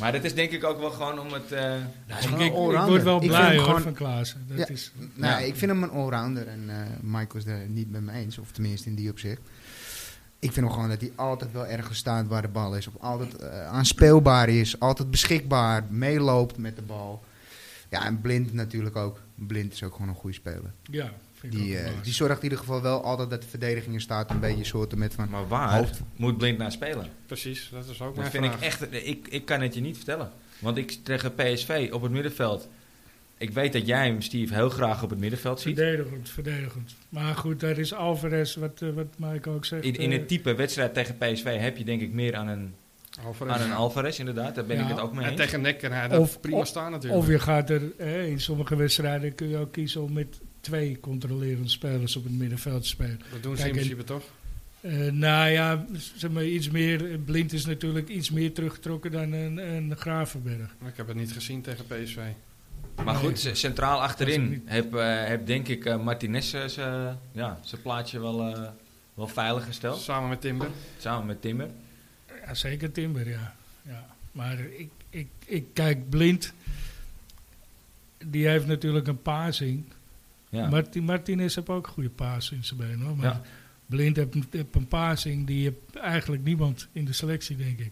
Speaker 1: Maar dat is denk ik ook wel gewoon om het... eh,
Speaker 4: Hij
Speaker 2: ik,
Speaker 4: is gewoon
Speaker 2: ik- ik
Speaker 4: een allrounder.
Speaker 2: word wel
Speaker 4: Ik vind
Speaker 2: blij
Speaker 4: hem
Speaker 2: hoor
Speaker 4: gewoon-
Speaker 2: van Klaassen. Dat
Speaker 4: Ja.
Speaker 2: is,
Speaker 4: Nou,
Speaker 1: Ja.
Speaker 4: ik vind hem een allrounder en eh Mike was er niet mee me eens, of tenminste in die opzicht. Ik vind hem gewoon dat hij altijd wel ergens staat waar de bal is, of altijd eh, aanspeelbaar is, altijd beschikbaar, meeloopt met de bal. Ja, en Blind natuurlijk ook. Blind is ook gewoon een goede speler.
Speaker 2: ja, vind ik
Speaker 4: Die,
Speaker 2: ook
Speaker 4: eh,
Speaker 2: wel
Speaker 4: die zorgt in ieder geval wel altijd dat de verdediging in staat een beetje soorten met van...
Speaker 1: maar waar
Speaker 4: Hoofd.
Speaker 1: moet Blind naar spelen?
Speaker 3: Precies, dat is ook
Speaker 1: Dat
Speaker 3: mijn
Speaker 1: vind
Speaker 3: vraag.
Speaker 1: ik echt... eh, Ik, ik kan het je niet vertellen. Want ik tegen PSV op het middenveld... Ik weet dat jij hem, Steve, heel graag op het middenveld ziet.
Speaker 2: Verdedigend, verdedigend. Maar goed, daar is Alvarez, wat, eh, wat Mike ook zegt.
Speaker 1: In, in
Speaker 2: eh,
Speaker 1: het type wedstrijd tegen PSV heb je denk ik meer aan een
Speaker 3: Alvarez.
Speaker 1: Aaron Alvarez, inderdaad, daar ben
Speaker 2: Ja.
Speaker 1: ik het ook mee
Speaker 3: En
Speaker 1: eens.
Speaker 3: tegen Nek kan hij dat
Speaker 2: Of-
Speaker 3: prima
Speaker 2: of-
Speaker 3: staan natuurlijk.
Speaker 2: Of je gaat er, hè, in sommige wedstrijden kun je ook kiezen om met twee controlerende spelers op het middenveld te spelen.
Speaker 3: dat doen ze
Speaker 2: Kijk,
Speaker 3: in
Speaker 2: en-
Speaker 3: principe toch?
Speaker 2: Eh, nou ja, zeg maar iets meer, eh, Blind is natuurlijk iets meer teruggetrokken dan een, een Gravenberg.
Speaker 3: Maar Ik heb het niet gezien tegen PSV.
Speaker 1: Maar goed, c- centraal
Speaker 2: Dat is
Speaker 1: achterin
Speaker 2: niet-
Speaker 1: heb, eh, heb denk ik eh, Martinez eh, zijn ja, zijn plaatje wel, eh, wel veilig gesteld.
Speaker 3: Samen met Timber.
Speaker 1: Samen met Timmer.
Speaker 2: Ja, zeker Timber, ja. ja. Maar ik, ik, ik kijk, Blind, die heeft natuurlijk een passing.
Speaker 1: Ja.
Speaker 2: Martin, Martinez heeft ook een goede paas in zijn been, hoor. Maar
Speaker 1: Ja.
Speaker 2: Blind heeft, heeft een passing, die heeft eigenlijk niemand in de selectie, denk ik.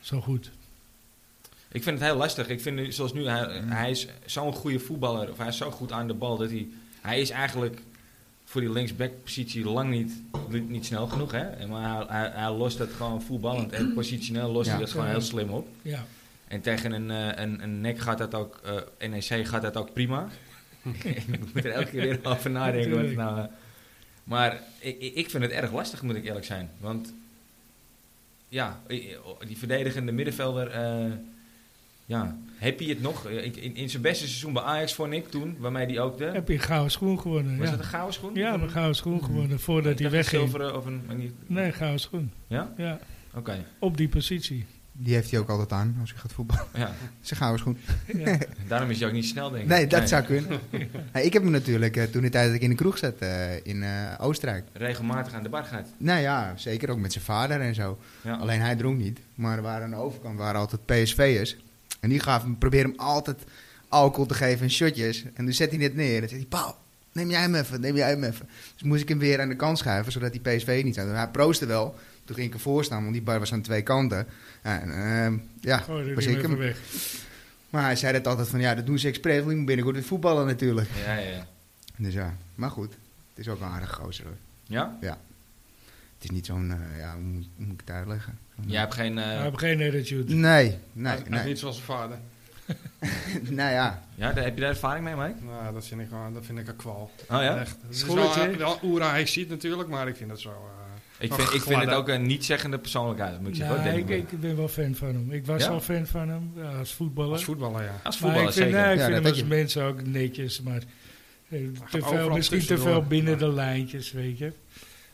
Speaker 2: Zo goed.
Speaker 1: Ik vind het heel lastig. Ik vind nu, zoals nu, hij, hij is zo'n goede voetballer. Of hij is zo goed aan de bal dat hij... Hij is eigenlijk voor die linksback-positie lang niet, niet, niet snel genoeg. Hè? Maar hij, hij, hij lost dat gewoon voetballend. En positioneel lost hij
Speaker 4: Ja.
Speaker 1: dat gewoon heel slim op.
Speaker 2: Ja.
Speaker 1: En tegen een, eh, een, een nek gaat dat ook... eh NEC gaat dat ook prima. ik moet er elke keer weer over nadenken. wat het nou, eh. maar ik, ik ik vind het erg lastig, moet ik eerlijk zijn. Want ja, i- i- die verdedigende middenvelder... eh, ja, heb je het nog? Eh, ik- In, in zijn beste seizoen bij Ajax vond ik toen, waarmee die ook de...
Speaker 2: Heb je een gouden schoen gewonnen?
Speaker 1: Was
Speaker 2: ja.
Speaker 1: dat een gouden schoen? Mm-hmm.
Speaker 2: ja,
Speaker 1: Of
Speaker 2: een
Speaker 1: een-
Speaker 2: gouden schoen gewonnen
Speaker 1: ik
Speaker 2: voordat hij
Speaker 1: dacht Een
Speaker 2: wegging.
Speaker 1: zilveren of een... maar niet-
Speaker 2: Nee, gouden schoen.
Speaker 1: Ja?
Speaker 2: Ja,
Speaker 1: Oké.
Speaker 2: op die positie.
Speaker 4: Die heeft hij ook altijd aan als hij gaat voetballen.
Speaker 1: Ja.
Speaker 4: Zeg gauw is goed.
Speaker 2: Ja.
Speaker 1: Daarom is hij ook niet snel, denk ik.
Speaker 4: Nee, dat zou kunnen. Hey, ik heb hem natuurlijk eh, toen de tijd dat ik in de kroeg zat eh, in eh, Oostenrijk.
Speaker 1: Regelmatig aan de bar gaat.
Speaker 4: Nou ja, zeker ook met zijn vader en zo.
Speaker 1: Ja.
Speaker 4: Nou,
Speaker 2: Oh.
Speaker 4: Alleen hij dronk niet. Maar er waren aan de overkant waren altijd PSV'ers. En die gaven, hem- probeerden hem altijd alcohol te geven en shotjes. En toen zet hij dit neer. En zei hij, Paul, neem jij hem even, neem jij hem even. Dus moest ik hem weer aan de kant schuiven, zodat die PSV niet zou. Hij proostte wel. Toen ging ik ervoor staan, want die bar was aan twee kanten. En ehm, ja,
Speaker 2: Gooi er
Speaker 4: was
Speaker 2: niet
Speaker 4: ik
Speaker 2: meer
Speaker 4: hem.
Speaker 2: weg.
Speaker 4: Maar hij zei dat altijd van, ja, dat doen ze expres. want Ik moet binnenkort weer voetballen natuurlijk.
Speaker 1: Ja, ja, ja.
Speaker 4: Dus ja, maar goed. Het is ook een aardige gozer hoor.
Speaker 1: Ja?
Speaker 4: Het is niet zo'n, eh, ja, hoe moet, hoe moet ik het uitleggen? Zo'n-
Speaker 1: Jij hebt geen... eh,
Speaker 2: Hij heeft geen attitude.
Speaker 4: Nee,
Speaker 3: Hij
Speaker 4: nee,
Speaker 3: is- hij is
Speaker 4: nee.
Speaker 3: niet zoals zijn vader.
Speaker 4: nou ja,
Speaker 1: ja, daar- heb je daar ervaring mee, Mike?
Speaker 3: Nou, dat vind ik, gewoon- dat vind ik een kwal.
Speaker 1: Oh ja?
Speaker 3: Echt. Het is
Speaker 2: Schooltje.
Speaker 3: wel, eh, wel oera hij ziet natuurlijk, maar ik vind dat zo... eh,
Speaker 1: Ik
Speaker 3: Nog
Speaker 1: vind, ik vind
Speaker 3: gladder.
Speaker 1: het ook een niet-zeggende persoonlijkheid, moet ik zeggen.
Speaker 2: Nou,
Speaker 1: hoor,
Speaker 2: ik,
Speaker 1: denk ik
Speaker 2: ik ben wel fan van hem. Ik was
Speaker 1: Ja?
Speaker 2: al fan van hem ja, als voetballer.
Speaker 3: als voetballer, ja.
Speaker 1: Als
Speaker 2: maar
Speaker 1: voetballer
Speaker 2: ik vind,
Speaker 1: zeker.
Speaker 2: nou, ik
Speaker 4: Ja,
Speaker 2: vind
Speaker 4: dat
Speaker 2: hem
Speaker 4: weet
Speaker 2: als
Speaker 4: je.
Speaker 2: mens ook netjes, maar eh, te veel,
Speaker 3: overal
Speaker 2: misschien te
Speaker 3: tussendoor.
Speaker 2: veel binnen
Speaker 3: Ja.
Speaker 2: de lijntjes, weet je.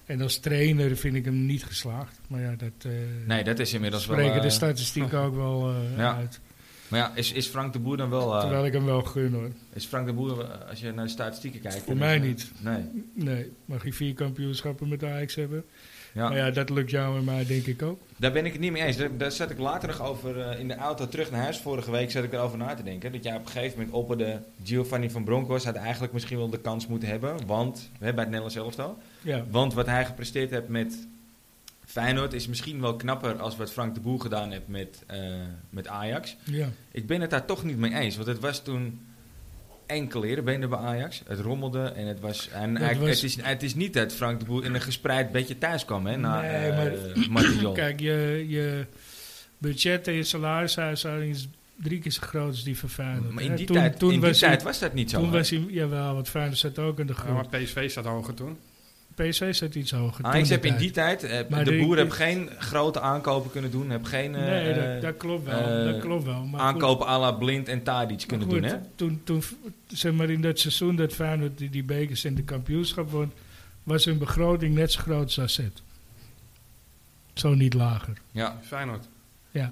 Speaker 2: En als trainer vind ik hem niet geslaagd. Maar ja, dat eh,
Speaker 1: nee, dat is inmiddels wel...
Speaker 2: spreken
Speaker 1: eh,
Speaker 2: de statistieken ook wel eh,
Speaker 1: Ja.
Speaker 2: uit.
Speaker 1: maar ja, is, is Frank de Boer dan wel... eh,
Speaker 2: Terwijl ik hem wel gun hoor.
Speaker 1: is Frank de Boer, eh, als je naar de statistieken kijkt...
Speaker 2: Voor
Speaker 1: dan
Speaker 2: mij
Speaker 1: is, eh,
Speaker 2: niet.
Speaker 1: Nee.
Speaker 2: Nee, mag je vier kampioenschappen met Ajax hebben.
Speaker 1: Ja.
Speaker 2: Maar ja, dat lukt jou en mij denk ik ook.
Speaker 1: Daar ben ik het niet mee eens. Daar, daar zat ik later nog over eh, in de auto terug naar huis. Vorige week zat ik erover na te denken. Dat jij op een gegeven moment opperde... Giovanni van Bronckhorst had eigenlijk misschien wel de kans moeten hebben. Want, hè, bij het Nederlands elftal.
Speaker 2: Ja,
Speaker 1: Want wat hij gepresteerd heeft met Feyenoord... is misschien wel knapper als wat Frank de Boer gedaan heeft met, eh, met Ajax.
Speaker 2: ja.
Speaker 1: Ik ben het daar toch niet mee eens. Want het was toen enkele erebenen bij Ajax. Het rommelde en het was... En
Speaker 2: Dat
Speaker 1: eigenlijk-
Speaker 2: was-
Speaker 1: Het, is, het is niet dat Frank de Boer in een gespreid bedje thuis kwam, hè? Na
Speaker 2: Nee,
Speaker 1: eh,
Speaker 2: maar-
Speaker 1: Martin Jol.
Speaker 2: Kijk, je, je budget en je salarishuishouding is drie keer zo groot als die van Feyenoord.
Speaker 1: Maar in
Speaker 2: hè.
Speaker 1: die,
Speaker 2: Toen-
Speaker 1: tijd,
Speaker 2: toen
Speaker 1: in die
Speaker 2: was
Speaker 1: tijd
Speaker 2: hij,
Speaker 1: was dat niet zo.
Speaker 2: Toen
Speaker 1: hè?
Speaker 2: was hij, jawel, want Feyenoord zat ook in de
Speaker 3: Ja,
Speaker 2: groep.
Speaker 3: maar PSV staat hoger toen.
Speaker 2: PSV zat iets hoger.
Speaker 1: Ajax
Speaker 2: toen
Speaker 1: heb Ah, in die tijd... eh,
Speaker 2: Maar
Speaker 1: de
Speaker 2: die-
Speaker 1: Boer
Speaker 2: die-
Speaker 1: heeft geen grote aankopen kunnen doen. Heb geen eh,
Speaker 2: Nee,
Speaker 1: eh,
Speaker 2: dat, dat klopt wel.
Speaker 1: eh,
Speaker 2: dat klopt wel. Maar
Speaker 1: aankopen à la Blind en Tadic kunnen
Speaker 2: goed,
Speaker 1: doen, hè?
Speaker 2: Toen, toen, zeg maar, in dat seizoen dat Feyenoord die, die bekers en de kampioenschap won, was hun begroting net zo groot als AZ. Zo niet lager.
Speaker 1: Ja.
Speaker 3: Feyenoord.
Speaker 2: Ja.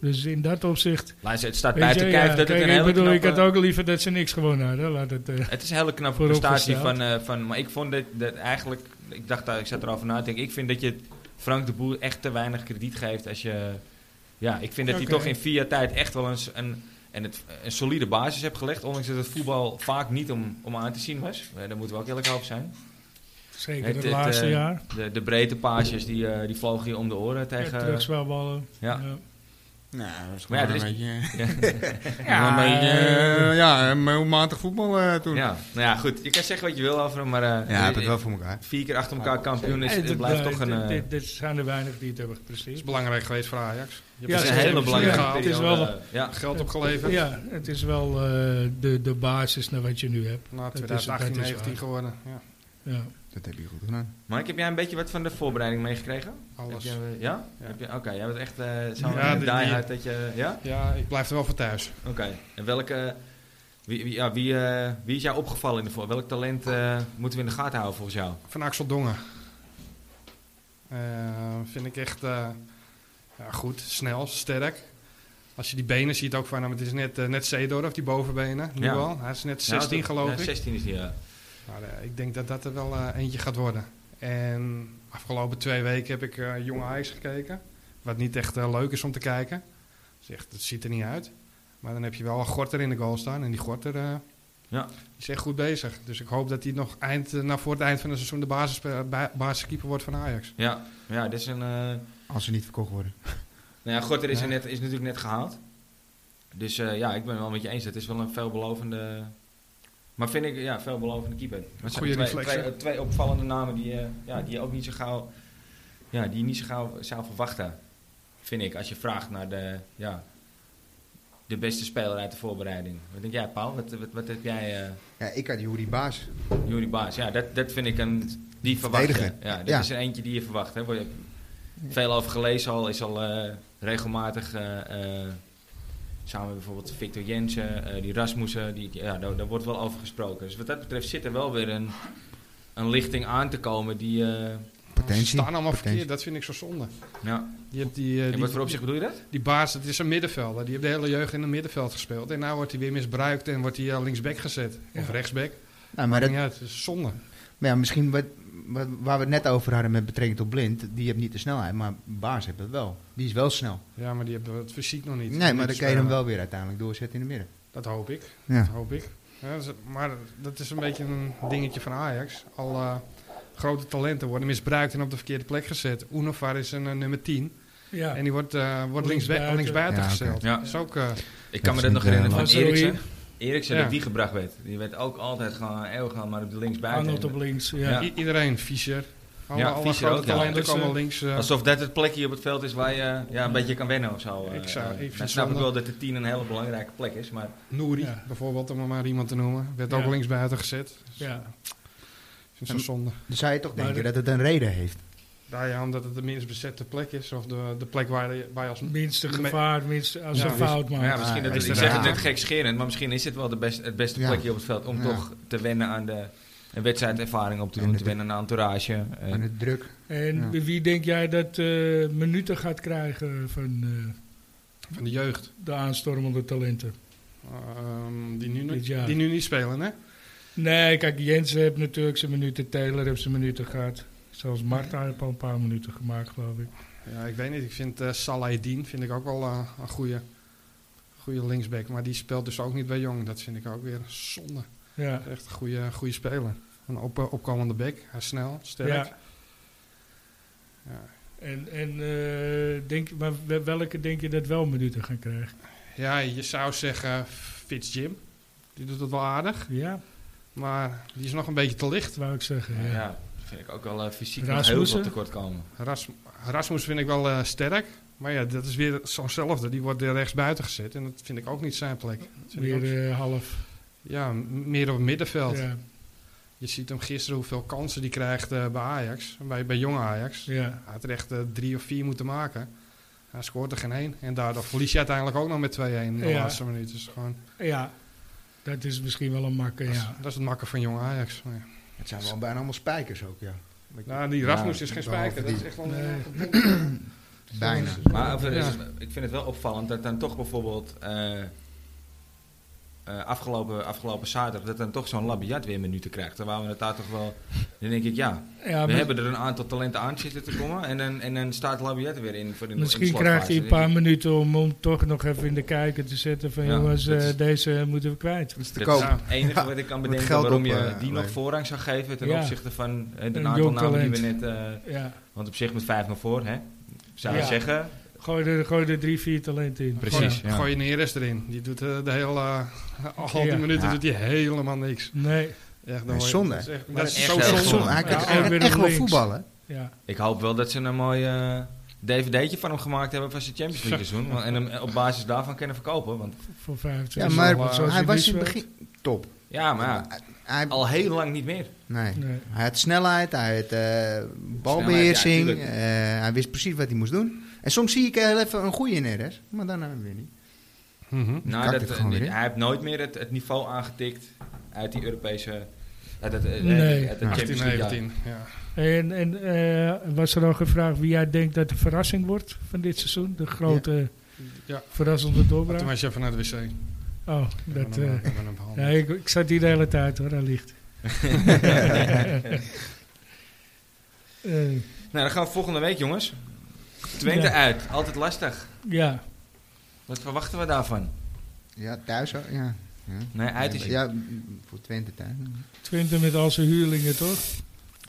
Speaker 2: Dus in dat opzicht
Speaker 1: Luister, het staat
Speaker 2: Weet
Speaker 1: buiten
Speaker 2: je,
Speaker 1: kijf
Speaker 2: ja,
Speaker 1: dat
Speaker 2: kijk,
Speaker 1: het een
Speaker 2: ik
Speaker 1: hele
Speaker 2: bedoel, ik had
Speaker 1: knappe-
Speaker 2: ook liever dat ze niks gewonnen hadden. Laat het, eh,
Speaker 1: Het is een hele knappe prestatie
Speaker 2: Vooropgesteld.
Speaker 1: van, eh, van... Maar ik vond dat, dat eigenlijk... Ik dacht daar, ik zat erover na te denken. Ik vind dat je Frank de Boer echt te weinig krediet geeft als je... Ja, ik vind dat
Speaker 2: Oké.
Speaker 1: hij toch in vier jaar tijd echt wel eens een, en het, een solide basis hebt gelegd. Ondanks dat het voetbal vaak niet om, om aan te zien was. Eh, Daar moeten we ook eerlijk over zijn.
Speaker 2: zeker
Speaker 1: Het-
Speaker 2: het,
Speaker 1: het,
Speaker 2: laatste
Speaker 1: eh,
Speaker 2: jaar.
Speaker 1: De, de breedte paasjes, die, eh, die vlogen je om de oren tegen...
Speaker 2: Tegen terugspelballen.
Speaker 1: ja.
Speaker 4: Nou, dat is
Speaker 1: Maar ja,
Speaker 4: gewoon
Speaker 1: er
Speaker 4: een beetje...
Speaker 2: Ja,
Speaker 4: Ja, een beetje, eh, ja, een heel matig voetbal eh, toen.
Speaker 1: ja, nou ja, goed. Je kan zeggen wat je wil over hem, maar... eh,
Speaker 4: Ja, heb het wel voor elkaar.
Speaker 1: Vier keer achter elkaar kampioen is,
Speaker 2: Eh,
Speaker 1: het
Speaker 2: dit-
Speaker 1: blijft
Speaker 2: eh,
Speaker 1: toch een...
Speaker 2: dit-
Speaker 1: eh,
Speaker 2: dit- Dit zijn er weinig die het hebben
Speaker 3: Dat is
Speaker 2: gepresteerd.
Speaker 3: belangrijk geweest voor Ajax. Je hebt
Speaker 2: Ja,
Speaker 1: het is een
Speaker 2: ze-
Speaker 1: hele
Speaker 2: ze-
Speaker 1: belangrijke
Speaker 2: ja, het is
Speaker 1: periode.
Speaker 2: wel-
Speaker 1: ja.
Speaker 3: Geld opgeleverd.
Speaker 2: Ja, het is wel eh, de, de basis naar wat je nu hebt.
Speaker 3: Na
Speaker 2: is-
Speaker 3: 2018,
Speaker 2: dat is
Speaker 3: 19
Speaker 2: waar.
Speaker 3: geworden. Ja.
Speaker 2: Ja.
Speaker 4: Dat Dat heb je goed gedaan.
Speaker 1: Mike, heb jij een beetje wat van de voorbereiding meegekregen?
Speaker 3: Alles.
Speaker 1: Heb je, ja?
Speaker 3: Ja.
Speaker 1: Heb je- Oké, jij bent echt eh zo'n
Speaker 3: Ja,
Speaker 1: die,
Speaker 3: die- die-
Speaker 1: hard dat je... Ja?
Speaker 3: Ja, ik blijf er wel voor thuis.
Speaker 1: Oké. En welke... Wie, wie, ja, wie, eh, wie is jou opgevallen in de voor? Welk talent eh, moeten we in de gaten houden volgens jou?
Speaker 3: Van Axel Dongen. Eh, vind ik echt eh, ja, goed, snel, sterk. Als je die benen ziet ook van hem, het is net, eh, net Zeedorf, die bovenbenen. Nu
Speaker 1: Ja.
Speaker 3: al. Hij is net 16
Speaker 1: Ja,
Speaker 3: geloof
Speaker 1: Nou, ja,
Speaker 3: ik.
Speaker 1: 16 is die, ja.
Speaker 3: Maar, eh, ik denk dat dat er wel eh, eentje gaat worden. En afgelopen twee weken heb ik eh Jong Ajax gekeken. Wat niet echt eh, leuk is om te kijken. Dus echt, het ziet er niet uit. Maar dan heb je wel een Gorter in de goal staan. En die Gorter eh,
Speaker 1: Ja.
Speaker 3: die is echt goed bezig. Dus ik hoop dat hij nog eind, eh, nou, voor het eind van het seizoen de basis, ba- basiskeeper wordt van Ajax.
Speaker 1: Ja, ja dit is een... eh,
Speaker 4: Als ze niet verkocht worden.
Speaker 1: Nou ja, Gorter is, er
Speaker 3: Ja.
Speaker 1: net, is natuurlijk net gehaald. Dus eh, ja, ik ben het wel met je eens. Het is wel een veelbelovende... Maar vind ik, ja, veelbelovende keeper. Maar
Speaker 3: Goeie
Speaker 1: twee,
Speaker 3: reflex,
Speaker 1: twee,
Speaker 3: hè?
Speaker 1: eh, twee opvallende namen die, eh, ja, die je ook niet zo gauw... Ja, die je niet zo gauw zou verwachten. Vind ik, als je vraagt naar de... Ja, de beste speler uit de voorbereiding. Wat denk jij, Paul? Wat, wat, wat heb jij, eh
Speaker 4: Ja, ik had Juri Baas.
Speaker 1: Juri Baas? Ja, dat, dat vind ik een... Die verwacht je.
Speaker 4: Verdediger.
Speaker 1: Ja, dat
Speaker 4: Ja.
Speaker 1: is er eentje die je verwacht. Hè. Waar je veel over gelezen al. Is al eh, regelmatig eh, eh, samen met bijvoorbeeld Victor Jensen, eh, die Rasmussen. Die, ja, daar, daar wordt wel over gesproken. Dus wat dat betreft zit er wel weer een, een lichting aan te komen die... eh,
Speaker 4: Potentie.
Speaker 3: Ze staan allemaal
Speaker 4: Potentie.
Speaker 3: verkeerd. Dat vind ik zo zonde.
Speaker 1: ja.
Speaker 3: Je hebt die, eh,
Speaker 1: In
Speaker 3: die,
Speaker 1: wat voor opzicht bedoel je dat?
Speaker 3: die baas, het is een middenvelder. Die heeft de hele jeugd in het middenveld gespeeld. En nu wordt hij weer misbruikt en wordt hij eh, linksback gezet. Of
Speaker 2: Ja.
Speaker 3: rechtsback.
Speaker 4: Nou, maar dat,
Speaker 3: Maakt niet uit. Het is zonde.
Speaker 4: maar ja, misschien wat, wat- waar we het net over hadden met betrekking tot Blind. Die heeft niet de snelheid, maar Baas heeft het wel. Die is wel snel.
Speaker 3: Ja, maar die hebben het fysiek nog niet.
Speaker 4: Nee,
Speaker 3: Niet
Speaker 4: maar dan kan je
Speaker 3: spelen.
Speaker 4: hem wel weer uiteindelijk doorzetten in de midden.
Speaker 3: Dat hoop ik.
Speaker 4: Ja.
Speaker 3: Dat hoop ik. Ja, dat is- maar dat is een beetje een dingetje van Ajax. Al eh, grote talenten worden misbruikt en op de verkeerde plek gezet. Unovar is een eh, nummer 10.
Speaker 2: Ja.
Speaker 3: En die wordt, eh wordt linksbuiten
Speaker 2: Linksbuiten.
Speaker 3: links
Speaker 4: Ja, oké.
Speaker 3: gezet.
Speaker 1: Ja.
Speaker 3: Dat is ook... eh,
Speaker 1: Ik kan me dat
Speaker 4: is niet,
Speaker 1: nog herinneren
Speaker 2: eh,
Speaker 1: van
Speaker 2: Lanzini.
Speaker 1: Eriksen. Eriksen,
Speaker 3: Ja.
Speaker 1: dat die gebracht werd. Die werd ook altijd gewoon eeuwig aan, maar op de
Speaker 2: Arnold op
Speaker 1: linksbuiten.
Speaker 2: links. Ja.
Speaker 1: Ja.
Speaker 3: i- iedereen, Fischer. Alle,
Speaker 1: Ja,
Speaker 3: alle
Speaker 1: Fischer
Speaker 3: grote
Speaker 1: ook, ja.
Speaker 3: talenten
Speaker 2: Andersen.
Speaker 3: komen links. eh,
Speaker 1: Alsof dat het plekje op het veld is waar je ja, een beetje kan wennen of zo. eh.
Speaker 3: Ik zou- ik
Speaker 1: Eh,
Speaker 3: vind
Speaker 1: nou, snap ik
Speaker 3: zonde.
Speaker 1: wel dat de 10 een hele belangrijke plek is, maar
Speaker 3: Nouri,
Speaker 2: Ja.
Speaker 3: bijvoorbeeld, om er maar iemand te noemen. Werd ook
Speaker 2: Ja.
Speaker 3: linksbuiten gezet.
Speaker 2: Ja.
Speaker 3: Ik vind het zo zonde.
Speaker 4: Dan zou je toch
Speaker 2: Maar
Speaker 4: denken dat het een reden heeft.
Speaker 3: Nou ja, omdat het de minst bezette plek is. Of de, de plek waar je, waar je als...
Speaker 2: Minste
Speaker 3: Me-
Speaker 2: gevaar, minste, als
Speaker 3: Ja,
Speaker 2: een
Speaker 3: dus-
Speaker 2: fout
Speaker 1: Maar
Speaker 2: maakt.
Speaker 1: ja, misschien dat,
Speaker 4: Ah,
Speaker 1: ik
Speaker 3: ja.
Speaker 1: zeg het
Speaker 4: Ja.
Speaker 1: net gekscherend, maar misschien is het wel de best, het beste
Speaker 4: Ja.
Speaker 1: plekje op het veld om
Speaker 4: Ja.
Speaker 1: toch te wennen aan de een wedstrijdervaring op te
Speaker 4: En
Speaker 1: doen,
Speaker 4: het-
Speaker 1: te wennen aan entourage. eh.
Speaker 4: En het druk.
Speaker 2: En
Speaker 4: Ja.
Speaker 2: bij wie denk jij dat eh, minuten gaat krijgen van eh,
Speaker 3: Van de jeugd.
Speaker 2: de aanstormende talenten?
Speaker 3: Ehm, die, nu,
Speaker 2: Dit jaar.
Speaker 3: die nu niet spelen, hè?
Speaker 2: Nee, kijk, Jensen heeft natuurlijk zijn minuten, Taylor heeft zijn minuten gehad. Zelfs Marta heeft al een paar minuten gemaakt, geloof ik.
Speaker 3: Ja, ik weet niet. Ik vind eh Salah Dien vind ik ook wel eh, een goede, goede linksback. Maar die speelt dus ook niet bij Jong. Dat vind ik ook weer zonde.
Speaker 2: Ja.
Speaker 3: Echt een goede, goede speler. Een op, eh, opkomende back. Hij is snel, sterk.
Speaker 2: Ja.
Speaker 3: Ja.
Speaker 2: En, en eh, denk, maar wel- welke denk je dat wel minuten gaan krijgen?
Speaker 3: Ja, je zou zeggen Fitz Jim. Die doet het wel aardig.
Speaker 2: Ja,
Speaker 3: Maar die is nog een beetje te licht.
Speaker 2: dat wou ik zeggen. Ja.
Speaker 1: ja. dat vind ik ook wel eh, fysiek nog heel
Speaker 2: Rasmussen?
Speaker 1: veel tekort komen.
Speaker 3: Ras, Rasmus vind ik wel eh, sterk. Maar ja, dat is weer zo'nzelfde. Die wordt er rechts buiten gezet. En dat vind ik ook niet zijn plek. Dat vind ik ook-
Speaker 2: Weer eh, half.
Speaker 3: ja, m- meer op het middenveld.
Speaker 2: Ja,
Speaker 3: Je ziet hem gisteren hoeveel kansen die krijgt eh, bij Ajax, bij, bij jonge Ajax.
Speaker 2: ja.
Speaker 3: Hij had er echt eh, drie of vier moeten maken. Hij scoort er geen één. En daardoor verlies je uiteindelijk ook nog met 2-1 in de
Speaker 2: Ja.
Speaker 3: laatste minuut. Dus gewoon,
Speaker 2: ja, dat is misschien wel een makke,
Speaker 3: dat, is,
Speaker 2: ja.
Speaker 3: dat is het makken van jonge Ajax. Maar ja.
Speaker 4: Het zijn wel bijna allemaal spijkers ook, ja.
Speaker 3: Nou, die
Speaker 1: Ja,
Speaker 3: Rasmus is geen spijker. Dat
Speaker 4: behalve
Speaker 3: is echt wel
Speaker 2: Nee.
Speaker 4: Bijna.
Speaker 1: Maar over-
Speaker 3: Ja.
Speaker 1: ik vind het wel opvallend dat dan toch bijvoorbeeld eh, eh, afgelopen, afgelopen zaterdag dat dan toch zo'n labiat weer minuten krijgt. Dan waren we daar toch wel, dan denk ik ja,
Speaker 2: ja
Speaker 1: we
Speaker 2: Ah, maar-
Speaker 1: hebben er een aantal talenten aan zitten te komen en dan, en dan staat labiat er weer in voor de in de
Speaker 2: Misschien
Speaker 1: slotfase.
Speaker 2: krijgt hij een
Speaker 1: Dan denk
Speaker 2: paar
Speaker 1: ik,
Speaker 2: minuten om hem toch nog even in de kijker te zetten van
Speaker 1: Ja,
Speaker 2: jongens,
Speaker 1: dat
Speaker 2: eh,
Speaker 1: is-
Speaker 2: deze moeten we kwijt.
Speaker 4: Dat is te
Speaker 1: Dat
Speaker 4: koop.
Speaker 1: is het enige
Speaker 4: Ja,
Speaker 1: wat ik kan
Speaker 4: met
Speaker 1: bedenken
Speaker 4: geld
Speaker 1: waarom
Speaker 4: op,
Speaker 1: je
Speaker 4: eh,
Speaker 1: die nog
Speaker 4: alleen.
Speaker 1: voorrang zou geven ten
Speaker 2: Ja.
Speaker 1: opzichte van eh, de
Speaker 2: Een
Speaker 1: aantal
Speaker 2: jong
Speaker 1: namen die we net...
Speaker 2: talent.
Speaker 1: eh,
Speaker 2: Ja.
Speaker 1: want op zich met vijf naar voor, hè? Zou je
Speaker 2: Ja.
Speaker 1: zeggen?
Speaker 2: Gooi, er, gooi er drie, vier talenten in.
Speaker 1: Precies, ja.
Speaker 3: Gooi Neres erin. Die doet eh, de hele... eh, al die
Speaker 2: Ja.
Speaker 3: minuten
Speaker 4: Ja.
Speaker 3: doet hij helemaal niks.
Speaker 2: Gooi- Nee,
Speaker 3: Echt,
Speaker 4: Nee,
Speaker 3: dan hoor je-
Speaker 4: zonde.
Speaker 3: Dat is, echt-
Speaker 1: Maar
Speaker 3: dat
Speaker 1: dat
Speaker 3: is
Speaker 1: is
Speaker 3: zo
Speaker 1: echt heel
Speaker 3: zonde.
Speaker 1: zonde.
Speaker 4: Hij kan
Speaker 2: Ja,
Speaker 4: hij
Speaker 2: ook
Speaker 4: kan
Speaker 2: weer
Speaker 4: echt wel
Speaker 2: links.
Speaker 4: voetballen.
Speaker 2: ja.
Speaker 1: Ik hoop wel dat ze een mooi eh, dvd'tje van hem gemaakt hebben van zijn Champions League seizoen. want- En hem op basis daarvan kunnen verkopen. Want,
Speaker 2: Voor vijf.
Speaker 4: Ja,
Speaker 3: is
Speaker 4: maar
Speaker 3: wel, eh,
Speaker 2: zoals
Speaker 4: hij
Speaker 2: hij
Speaker 4: was in
Speaker 2: nu
Speaker 4: het begin top.
Speaker 1: ja, maar ja,
Speaker 4: Hij- hij,
Speaker 1: Al heel lang niet meer.
Speaker 4: nee.
Speaker 2: Nee.
Speaker 4: hij had snelheid, hij had eh, balbeheersing.
Speaker 1: Snelheid, ja,
Speaker 4: eh, hij wist precies wat hij moest doen. En soms zie ik heel even een goede in RS, maar daarna weer niet.
Speaker 3: Mhm.
Speaker 1: Nou,
Speaker 4: kakt
Speaker 1: dat,
Speaker 4: het gewoon
Speaker 1: eh,
Speaker 4: weer in.
Speaker 1: hij heeft nooit meer het, het niveau aangetikt uit die Europese... Uit het, eh,
Speaker 2: Nee.
Speaker 1: uit het Champions
Speaker 3: 18,
Speaker 1: League jaar.
Speaker 3: 19. Ja.
Speaker 2: En, en eh, was er al gevraagd wie jij denkt dat de verrassing wordt van dit seizoen? De grote
Speaker 3: Ja.
Speaker 2: verrassende
Speaker 3: Maar Toen
Speaker 2: doorbraak?
Speaker 3: was je even naar de wc. We
Speaker 2: Oh,
Speaker 3: hebben
Speaker 2: dat...
Speaker 3: hem-
Speaker 2: eh,
Speaker 3: we hebben hem behandeld.
Speaker 2: nee, ik, ik zat hier de hele tijd hoor, dat ligt. Eh,
Speaker 1: Nou, dan gaan we volgende week, jongens. Twente
Speaker 2: Ja.
Speaker 1: uit. Altijd lastig.
Speaker 2: ja,
Speaker 1: Wat verwachten we daarvan?
Speaker 4: Ja, thuis ook, ja. ja.
Speaker 1: Nee, uit is het.
Speaker 4: Ja, m- voor Twente thuis.
Speaker 2: Twente met al zijn huurlingen toch?